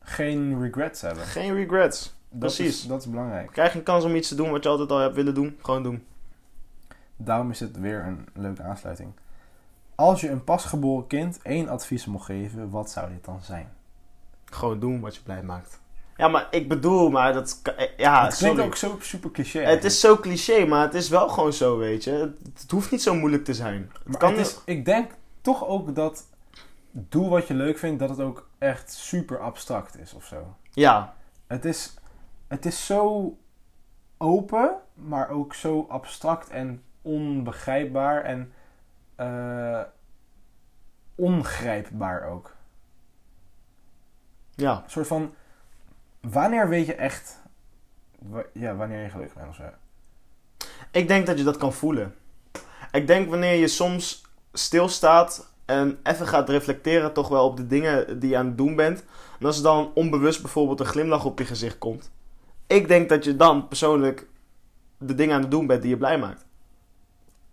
S1: Geen regrets hebben.
S2: Geen regrets.
S1: Dat
S2: Precies.
S1: Is, dat is belangrijk.
S2: Krijg een kans om iets te doen wat je altijd al hebt willen doen. Gewoon doen.
S1: Daarom is het weer een leuke aansluiting. Als je een pasgeboren kind één advies mocht geven, wat zou dit dan zijn?
S2: Gewoon doen wat je blij maakt. Ja, maar ik bedoel, maar dat... kan- eh, Ja,
S1: het klinkt
S2: sorry.
S1: ook zo super cliché.
S2: Het is zo cliché, maar het is wel gewoon zo, weet je. Het, het hoeft niet zo moeilijk te zijn. Het
S1: maar
S2: kan
S1: het is, ik denk toch ook dat doe wat je leuk vindt, dat het ook echt super abstract is of zo.
S2: Ja,
S1: Het is, het is zo open, maar ook zo abstract en onbegrijpbaar en eh, ongrijpbaar ook.
S2: ja.
S1: Een soort van, wanneer weet je echt, wa- ja, wanneer je gelukkig bent of zo.
S2: Ik denk dat je dat kan voelen. Ik denk wanneer je soms stilstaat en even gaat reflecteren toch wel op de dingen die je aan het doen bent. En als er dan onbewust bijvoorbeeld een glimlach op je gezicht komt. Ik denk dat je dan persoonlijk de dingen aan het doen bent die je blij maakt.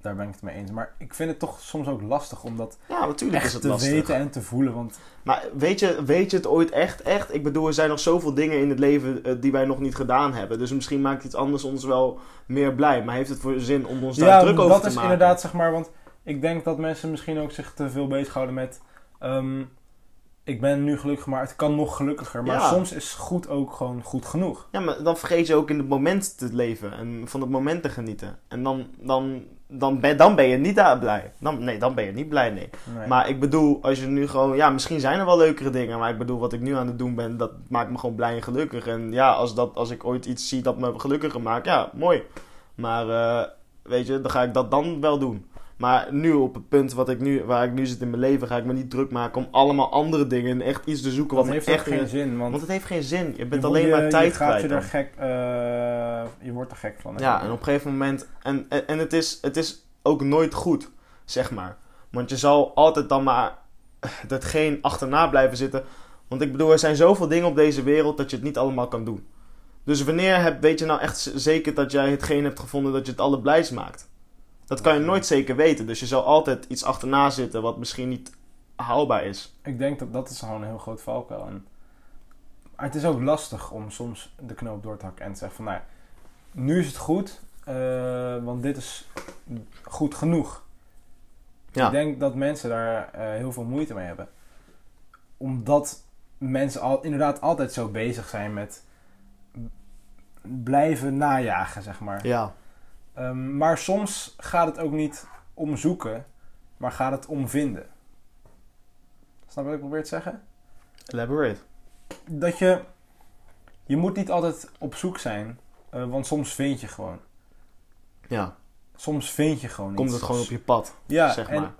S1: Daar ben ik het mee eens. Maar ik vind het toch soms ook lastig om dat
S2: Ja, natuurlijk is
S1: echt
S2: het
S1: te
S2: lastig.
S1: weten en te voelen. Want
S2: Maar weet je, weet je het ooit echt? Echt? Ik bedoel, er zijn nog zoveel dingen in het leven eh, die wij nog niet gedaan hebben. Dus misschien maakt iets anders ons wel meer blij. Maar heeft het voor zin om ons daar
S1: ja,
S2: druk over te
S1: dat
S2: maken?
S1: is inderdaad, zeg maar, want ik denk dat mensen misschien ook zich te veel bezighouden met... ehm, ik ben nu gelukkig, maar het kan nog gelukkiger. Maar
S2: Ja.
S1: soms is goed ook gewoon goed genoeg.
S2: Ja, maar dan vergeet je ook in het moment te leven en van het moment te genieten. En dan, dan, dan, ben, dan ben je niet daar blij. Dan, nee, dan ben je niet blij, nee.
S1: Nee.
S2: Maar ik bedoel, als je nu gewoon... Ja, misschien zijn er wel leukere dingen, maar ik bedoel, wat ik nu aan het doen ben, dat maakt me gewoon blij en gelukkig. En ja, als, dat, als ik ooit iets zie dat me gelukkiger maakt, ja, mooi. Maar eh, weet je, dan ga ik dat dan wel doen. Maar nu op het punt wat ik nu, waar ik nu zit in mijn leven, ga ik me niet druk maken om allemaal andere dingen en echt iets te zoeken
S1: dat
S2: wat me
S1: heeft
S2: echt
S1: echt geen zin, want...
S2: Want het heeft geen zin. Je
S1: je
S2: bent
S1: wordt-
S2: alleen maar
S1: je-
S2: tijd
S1: je gaat
S2: kwijt.
S1: je
S2: dan.
S1: er gek... eh, je wordt er gek van. hè.
S2: Ja, en op een gegeven moment. En, en, en het, is, het is ook nooit goed, zeg maar. Want je zal altijd dan maar datgene achterna blijven zitten. Want ik bedoel, er zijn zoveel dingen op deze wereld dat je het niet allemaal kan doen. Dus wanneer heb, weet je nou echt z- zeker dat jij hetgeen hebt gevonden dat je het allerblijst maakt? Dat kan je nooit zeker weten. Dus je zal altijd iets achterna zitten wat misschien niet haalbaar is.
S1: Ik denk dat dat is gewoon een heel groot valkuil. En maar het is ook lastig om soms de knoop door te hakken en te zeggen van... Nou, nu is het goed, eh, want dit is goed genoeg.
S2: Ja.
S1: Ik denk dat mensen daar eh, heel veel moeite mee hebben. Omdat mensen al, inderdaad altijd zo bezig zijn met b- blijven najagen, zeg maar.
S2: Ja.
S1: Ehm, maar soms gaat het ook niet om zoeken, maar gaat het om vinden. Snap je wat ik probeer te zeggen?
S2: Elaborate.
S1: dat je. Je moet niet altijd op zoek zijn, eh, want soms vind je gewoon.
S2: Ja.
S1: Soms vind je gewoon
S2: Komt
S1: iets.
S2: het gewoon op je pad,
S1: Ja,
S2: zeg
S1: en
S2: maar.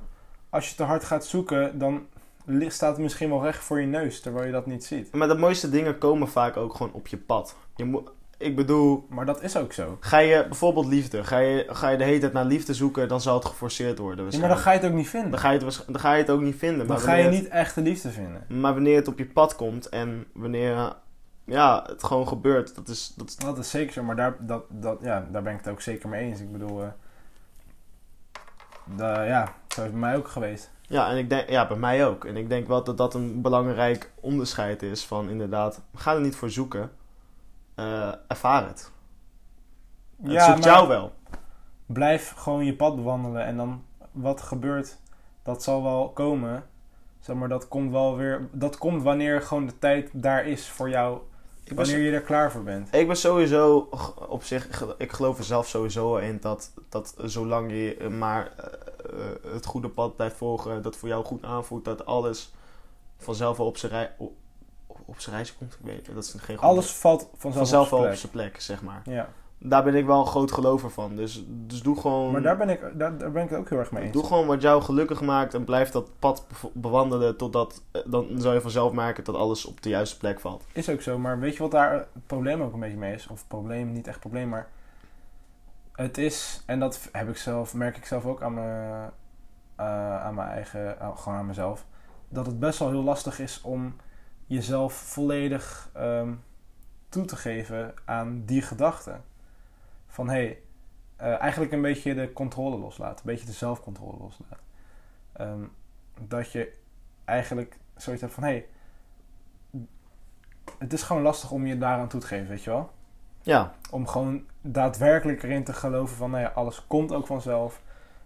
S1: als je te hard gaat zoeken, dan li- staat het misschien wel recht voor je neus, terwijl je dat niet ziet.
S2: Maar de mooiste dingen komen vaak ook gewoon op je pad. Je moet, ik bedoel,
S1: Maar dat is ook zo.
S2: ga je bijvoorbeeld liefde, ga je, ga je de hele tijd naar liefde zoeken, dan zal het geforceerd worden.
S1: Ja, maar dan
S2: waarschijnlijk.
S1: ga je het ook niet vinden.
S2: dan, ga je het, waarsch- dan ga je het ook niet vinden.
S1: Dan
S2: maar
S1: ga je
S2: wanneer
S1: niet echt de liefde vinden.
S2: het- maar wanneer het op je pad komt en wanneer ja, het gewoon gebeurt, dat is. Dat, is-
S1: Dat is zeker zo, maar daar, dat, dat, ja, daar ben ik het ook zeker mee eens. Ik bedoel, eh, da- ja, zo is het bij mij ook geweest.
S2: ja, en ik denk, ja, bij mij ook. En ik denk wel dat dat een belangrijk onderscheid is van inderdaad, ga er niet voor zoeken. Eh, ervaar het. Het zoekt
S1: maar-
S2: jou wel.
S1: blijf gewoon je pad bewandelen en dan wat gebeurt, dat zal wel komen. Zeg maar, dat komt wel weer, dat komt wanneer gewoon de tijd daar is voor jou
S2: Ik ben,
S1: Wanneer je er klaar voor bent.
S2: ik ben sowieso g- op zich, ge- ik geloof er zelf sowieso in dat, dat zolang je eh, maar eh, eh, het goede pad blijft volgen, dat voor jou goed aanvoelt, dat alles vanzelf wel op zijn rij, op, op zijn reis komt. Ik weet het, dat is geen goed
S1: Alles valt
S2: woord.
S1: vanzelf,
S2: vanzelf
S1: op
S2: wel
S1: zijn
S2: op
S1: plek.
S2: zijn plek, zeg maar.
S1: Ja.
S2: Daar ben ik wel een groot gelover van. Dus, dus doe gewoon.
S1: Maar daar ben, ik, daar, daar ben ik het ook heel erg mee eens.
S2: Doe gewoon wat jou gelukkig maakt en blijf dat pad bev- bewandelen totdat... eh, Dan zal je vanzelf merken dat alles op de juiste plek valt.
S1: Is ook zo, maar weet je wat daar het probleem ook een beetje mee is? Of probleem, niet echt probleem, maar het is, en dat heb ik zelf, merk ik zelf ook aan mijn, eh, aan mijn eigen, eh, gewoon aan mezelf, dat het best wel heel lastig is om jezelf volledig ehm, toe te geven aan die gedachte. Van hé, hey, eh, eigenlijk een beetje de controle loslaten, een beetje de zelfcontrole loslaten. Ehm, dat je eigenlijk zoiets hebt van hé, hey, het is gewoon lastig om je daaraan toe te geven, weet je wel?
S2: Ja,
S1: Om gewoon daadwerkelijk erin te geloven van, nou ja, alles komt ook vanzelf.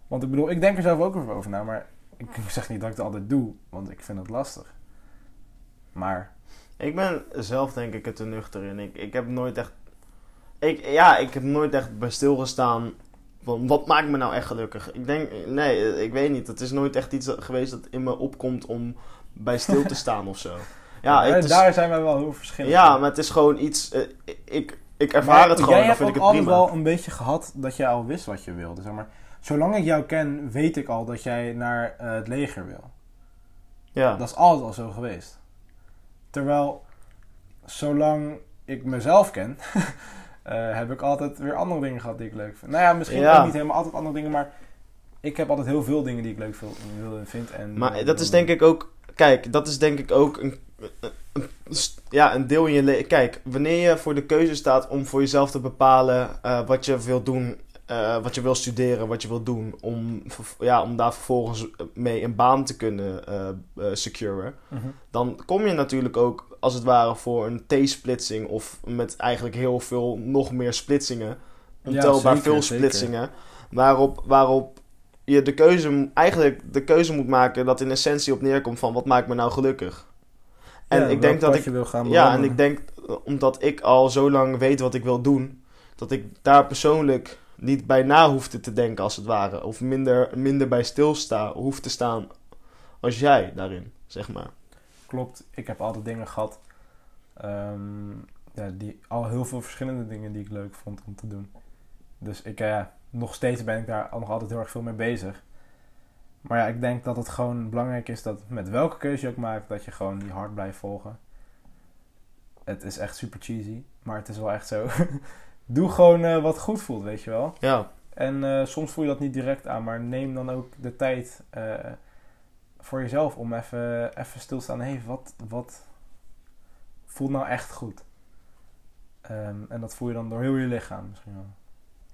S1: Want ik bedoel, ik denk er zelf ook over na, maar ik zeg niet dat ik het altijd doe, want ik vind het lastig. Maar,
S2: ik ben zelf denk ik er te nuchter in. Ik, ik heb nooit echt... Ik, ja, ik heb nooit echt bij stilgestaan van wat maakt me nou echt gelukkig. Ik denk, nee, eh, ik weet niet. Het is nooit echt iets dat- geweest dat in me opkomt om bij stil te staan of zo. Ja,
S1: daar-
S2: het is,
S1: daar zijn wij wel heel verschillend.
S2: ja,
S1: in.
S2: maar het is gewoon iets... eh, ik, ik
S1: Maar
S2: ervaar het gewoon
S1: Jij
S2: en dan
S1: hebt
S2: vind ik
S1: ook
S2: het
S1: altijd
S2: prima.
S1: wel een beetje gehad dat jij al wist wat je wilde, zeg maar. Zolang ik jou ken, weet ik al dat jij naar eh, het leger wil.
S2: Ja.
S1: Dat is altijd al zo geweest. Terwijl, zolang ik mezelf ken, eh, heb ik altijd weer andere dingen gehad die ik leuk vind. Nou ja, misschien
S2: Ja.
S1: ook niet helemaal altijd andere dingen, maar ik heb altijd heel veel dingen die ik leuk wil- wil- vind. En eh,
S2: Maar dat is denk ik ook. Kijk, dat is denk ik ook een. een- een- ja, een deel in je leven. Kijk, wanneer je voor de keuze staat om voor jezelf te bepalen eh, wat je wil doen, eh, wat je wil studeren, wat je wil doen, om, verv- ja, om daar vervolgens mee een baan te kunnen eh eh, securen,
S1: Mhm.
S2: dan kom je natuurlijk ook als het ware voor een T-splitsing of met eigenlijk heel veel nog meer splitsingen, ontelbaar
S1: zeker,
S2: veel
S1: zeker.
S2: splitsingen, waarop, waarop je de keuze, m- eigenlijk de keuze moet maken dat in essentie op neerkomt van wat maakt me nou gelukkig. En ik denk dat ik,
S1: je wil gaan
S2: ja, en ik denk eh, omdat ik al zo lang weet wat ik wil doen, dat ik daar persoonlijk niet bij na hoefde te denken als het ware, of minder, minder bij stilsta hoef te staan als jij daarin, zeg maar.
S1: Klopt, ik heb altijd dingen gehad, ehm, ja, die, al heel veel verschillende dingen die ik leuk vond om te doen. Dus ik, eh, nog steeds ben ik daar nog altijd heel erg veel mee bezig. Maar ja, ik denk dat het gewoon belangrijk is dat met welke keuze je ook maakt, dat je gewoon die hart blijft volgen. Het is echt super cheesy, maar het is wel echt zo. Doe gewoon eh, wat goed voelt, weet je wel.
S2: Ja,
S1: En eh, soms voel je dat niet direct aan, maar neem dan ook de tijd eh, voor jezelf om even, even stilstaan. Hé, hey, wat, wat voelt nou echt goed? Ehm, en dat voel je dan door heel je lichaam misschien wel.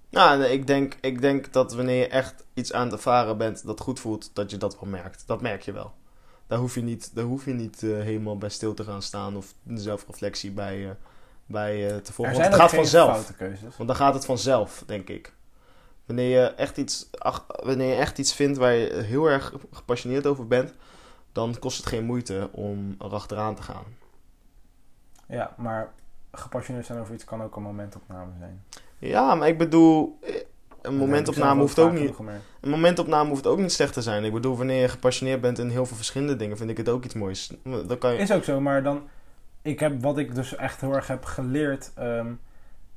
S2: nou, nee, ik denk, ik denk dat wanneer je echt iets aan het ervaren bent dat goed voelt, dat je dat wel merkt. Dat merk je wel. Daar hoef je niet, daar hoef je niet eh, helemaal bij stil te gaan staan of een zelfreflectie bij, eh, bij eh, te volgen. Want het
S1: ook
S2: gaat vanzelf.
S1: foute keuzes.
S2: Want dan gaat het vanzelf, denk ik. Wanneer je echt iets, ach- wanneer je echt iets vindt waar je heel erg gepassioneerd over bent, dan kost het geen moeite om erachteraan te gaan.
S1: Ja, maar gepassioneerd zijn over iets kan ook een momentopname zijn.
S2: Ja, maar ik bedoel, eh, een
S1: Dat heb ik zelf
S2: momentopname hoeft ook
S1: vaak
S2: niet.
S1: genoeg gemerkt.
S2: Een momentopname hoeft ook niet slecht te zijn. Ik bedoel, wanneer je gepassioneerd bent in heel veel verschillende dingen, vind ik het ook iets moois. Dan kan je.
S1: Is ook zo, maar dan... Ik heb, wat ik dus echt heel erg heb geleerd ehm,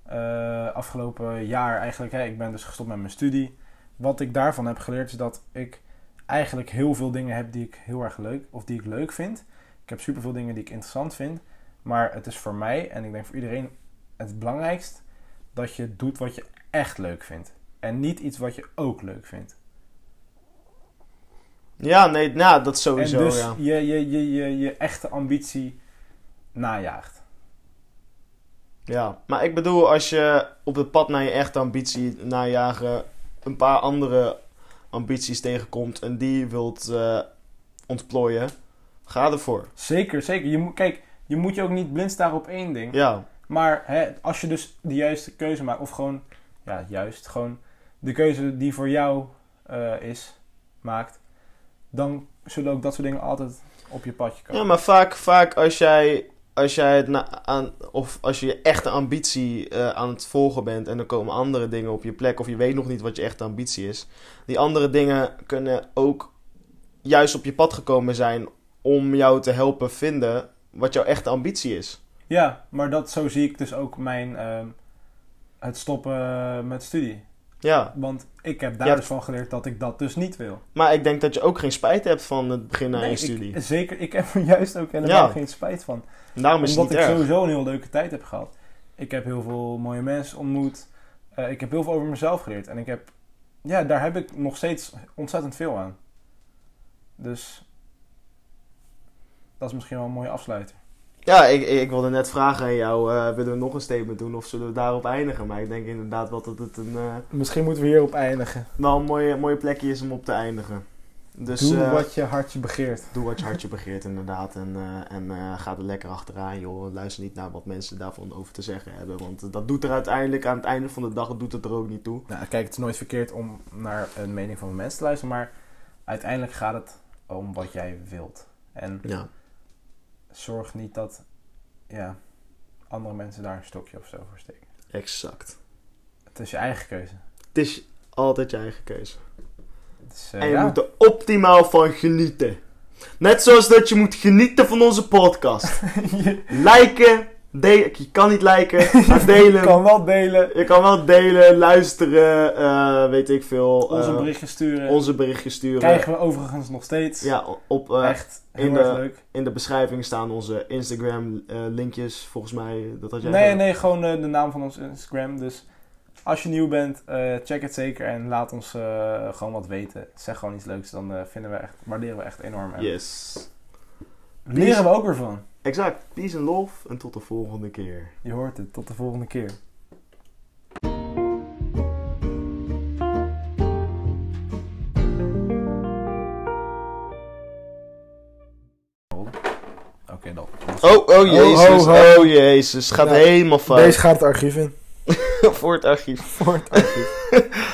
S1: eh, afgelopen jaar eigenlijk... Hè, ik ben dus gestopt met mijn studie. Wat ik daarvan heb geleerd is dat ik eigenlijk heel veel dingen heb die ik heel erg leuk... of die ik leuk vind. Ik heb superveel dingen die ik interessant vind. Maar het is voor mij, en ik denk voor iedereen het belangrijkst... dat je doet wat je echt leuk vindt. En niet iets wat je ook leuk vindt.
S2: Ja, nee, nou, dat sowieso.
S1: en dus
S2: ja.
S1: je, je, je, je, je echte ambitie najaagt.
S2: Ja, maar ik bedoel, als je op het pad naar je echte ambitie najagen een paar andere ambities tegenkomt en die wilt eh, ontplooien, ga ervoor.
S1: Zeker, zeker. Je moet, kijk, je moet je ook niet blind staren op één ding.
S2: Ja,
S1: Maar hè, als je dus de juiste keuze maakt, of gewoon, ja, juist, gewoon de keuze die voor jou eh, is, maakt, dan zullen ook dat soort dingen altijd op je padje komen.
S2: ja maar vaak, vaak als jij als jij het na- aan, of als je je echte ambitie eh, aan het volgen bent en er komen andere dingen op je plek, of je weet nog niet wat je echte ambitie is, die andere dingen kunnen ook juist op je pad gekomen zijn om jou te helpen vinden wat jouw echte ambitie is.
S1: Ja, maar dat, zo zie ik dus ook mijn, ehm, het stoppen eh, met studie.
S2: Ja,
S1: Want ik heb daar
S2: Ja.
S1: dus van geleerd dat ik dat dus niet wil.
S2: maar ik denk dat je ook geen spijt hebt van het begin naar
S1: Nee,
S2: je
S1: ik-
S2: studie.
S1: zeker, ik heb er juist ook helemaal
S2: Ja.
S1: geen spijt van.
S2: Daarom is het
S1: Omdat
S2: niet
S1: ik
S2: erg.
S1: sowieso een heel leuke tijd heb gehad. Ik heb heel veel mooie mensen ontmoet. Eh, ik heb heel veel over mezelf geleerd. En ik heb, ja, daar heb ik nog steeds ontzettend veel aan. Dus dat is misschien wel een mooie afsluiter.
S2: Ja, ik, ik wilde net vragen aan jou, eh, willen we nog een statement doen of zullen we daarop eindigen? Maar ik denk inderdaad wel dat het een, eh,
S3: Misschien moeten we hierop eindigen.
S2: wel een mooie, mooie plekje is om op te eindigen. Dus
S3: Doe
S2: eh,
S3: wat je hartje begeert.
S2: doe wat je hartje begeert inderdaad en, eh, en eh, ga er lekker achteraan joh. Luister niet naar wat mensen daarvan over te zeggen hebben, want eh, dat doet er uiteindelijk aan het einde van de dag, doet het er ook niet toe.
S1: Nou, kijk, het is nooit verkeerd om naar een mening van mensen te luisteren. Maar uiteindelijk gaat het om wat jij wilt. En
S2: Ja,
S1: zorg niet dat ja, andere mensen daar een stokje of zo voor steken.
S2: exact.
S1: Het is je eigen keuze.
S2: Het is altijd je eigen keuze.
S1: Het is, eh,
S2: En je
S1: ja.
S2: moet er optimaal van genieten. Net zoals dat je moet genieten van onze podcast. liken, delen. Je kan niet liken, maar delen.
S1: Je kan wel delen.
S2: Je kan wel delen, luisteren, eh, weet ik veel.
S1: Onze
S2: eh,
S1: berichten sturen.
S2: onze berichtjes sturen.
S1: Krijgen we overigens nog steeds.
S2: Ja, op, eh,
S1: Echt heel
S2: in
S1: erg
S2: de-
S1: leuk.
S2: in de beschrijving staan onze Instagram eh, linkjes, volgens mij. Dat had jij
S1: Nee,
S2: gedaan.
S1: nee, gewoon eh, de naam van ons Instagram. Dus als je nieuw bent, eh, check het zeker en laat ons eh, gewoon wat weten. Zeg gewoon iets leuks, dan eh, vinden we echt, waarderen we echt enorm. En
S2: Yes.
S1: Leren we ook weer van.
S2: Exact. Peace and love en tot de volgende keer.
S1: Je hoort het. Tot de volgende keer. Oké, dan.
S2: Oh, oh
S3: jezus,
S2: jezus,
S3: ho, ho.
S2: oh jezus. Gaat
S3: Nou,
S2: helemaal fout.
S3: Deze gaat het archief in.
S2: Voor het archief.
S3: Voor het archief.